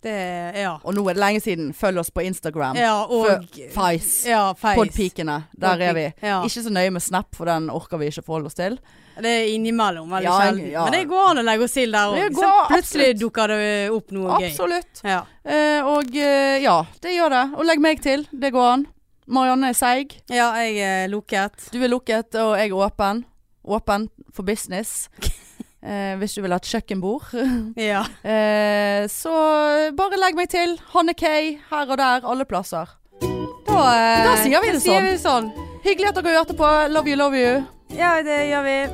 Speaker 1: Det, ja.
Speaker 2: Og nå er det lenge siden, følg oss på Instagram.
Speaker 1: ja, og
Speaker 2: Feis.
Speaker 1: ja, feis.
Speaker 2: Podpikene, der er vi.
Speaker 1: Ja.
Speaker 2: Ikke så nøye med Snap, for den orker vi ikke forholde oss til.
Speaker 1: Det er innimellom, veldig
Speaker 2: Ja,
Speaker 1: sjelden.
Speaker 2: ja.
Speaker 1: Men det går an å legge oss til der
Speaker 2: Det
Speaker 1: òg.
Speaker 2: går
Speaker 1: Plutselig
Speaker 2: absolutt.
Speaker 1: dukker det opp noe gøy.
Speaker 2: Absolutt.
Speaker 1: Ja.
Speaker 2: Eh, og eh, ja, det gjør det. Og legg meg til, det går an. Marianne er seig,
Speaker 1: ja, jeg er lukket.
Speaker 2: du er lukket, og jeg er åpen. Åpen for business. Eh, hvis du vil ha et kjøkkenbord.
Speaker 1: Ja.
Speaker 2: Eh, så bare legg meg til. Hanne K. Her og der. Alle plasser.
Speaker 1: Da, eh,
Speaker 2: Da sier vi det sånn.
Speaker 1: vi sånn.
Speaker 2: Hyggelig at dere hørte på. Love you, love you.
Speaker 1: Ja, det gjør vi.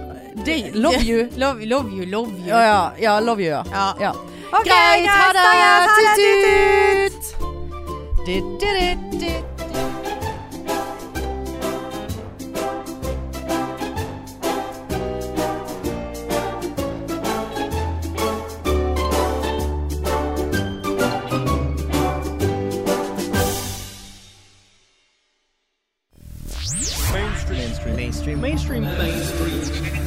Speaker 2: De, love you.
Speaker 1: Love, love you, love you.
Speaker 2: Ja, ja, ja. Love you, ja.
Speaker 1: Ja.
Speaker 2: ja.
Speaker 1: Ok,
Speaker 2: Greit. Ha
Speaker 1: greit, da, ja, ha
Speaker 2: det.
Speaker 1: det,
Speaker 2: Tut-tut. Tut-tut-tut.
Speaker 4: mainstream mainstream mainstream mainstream mainstream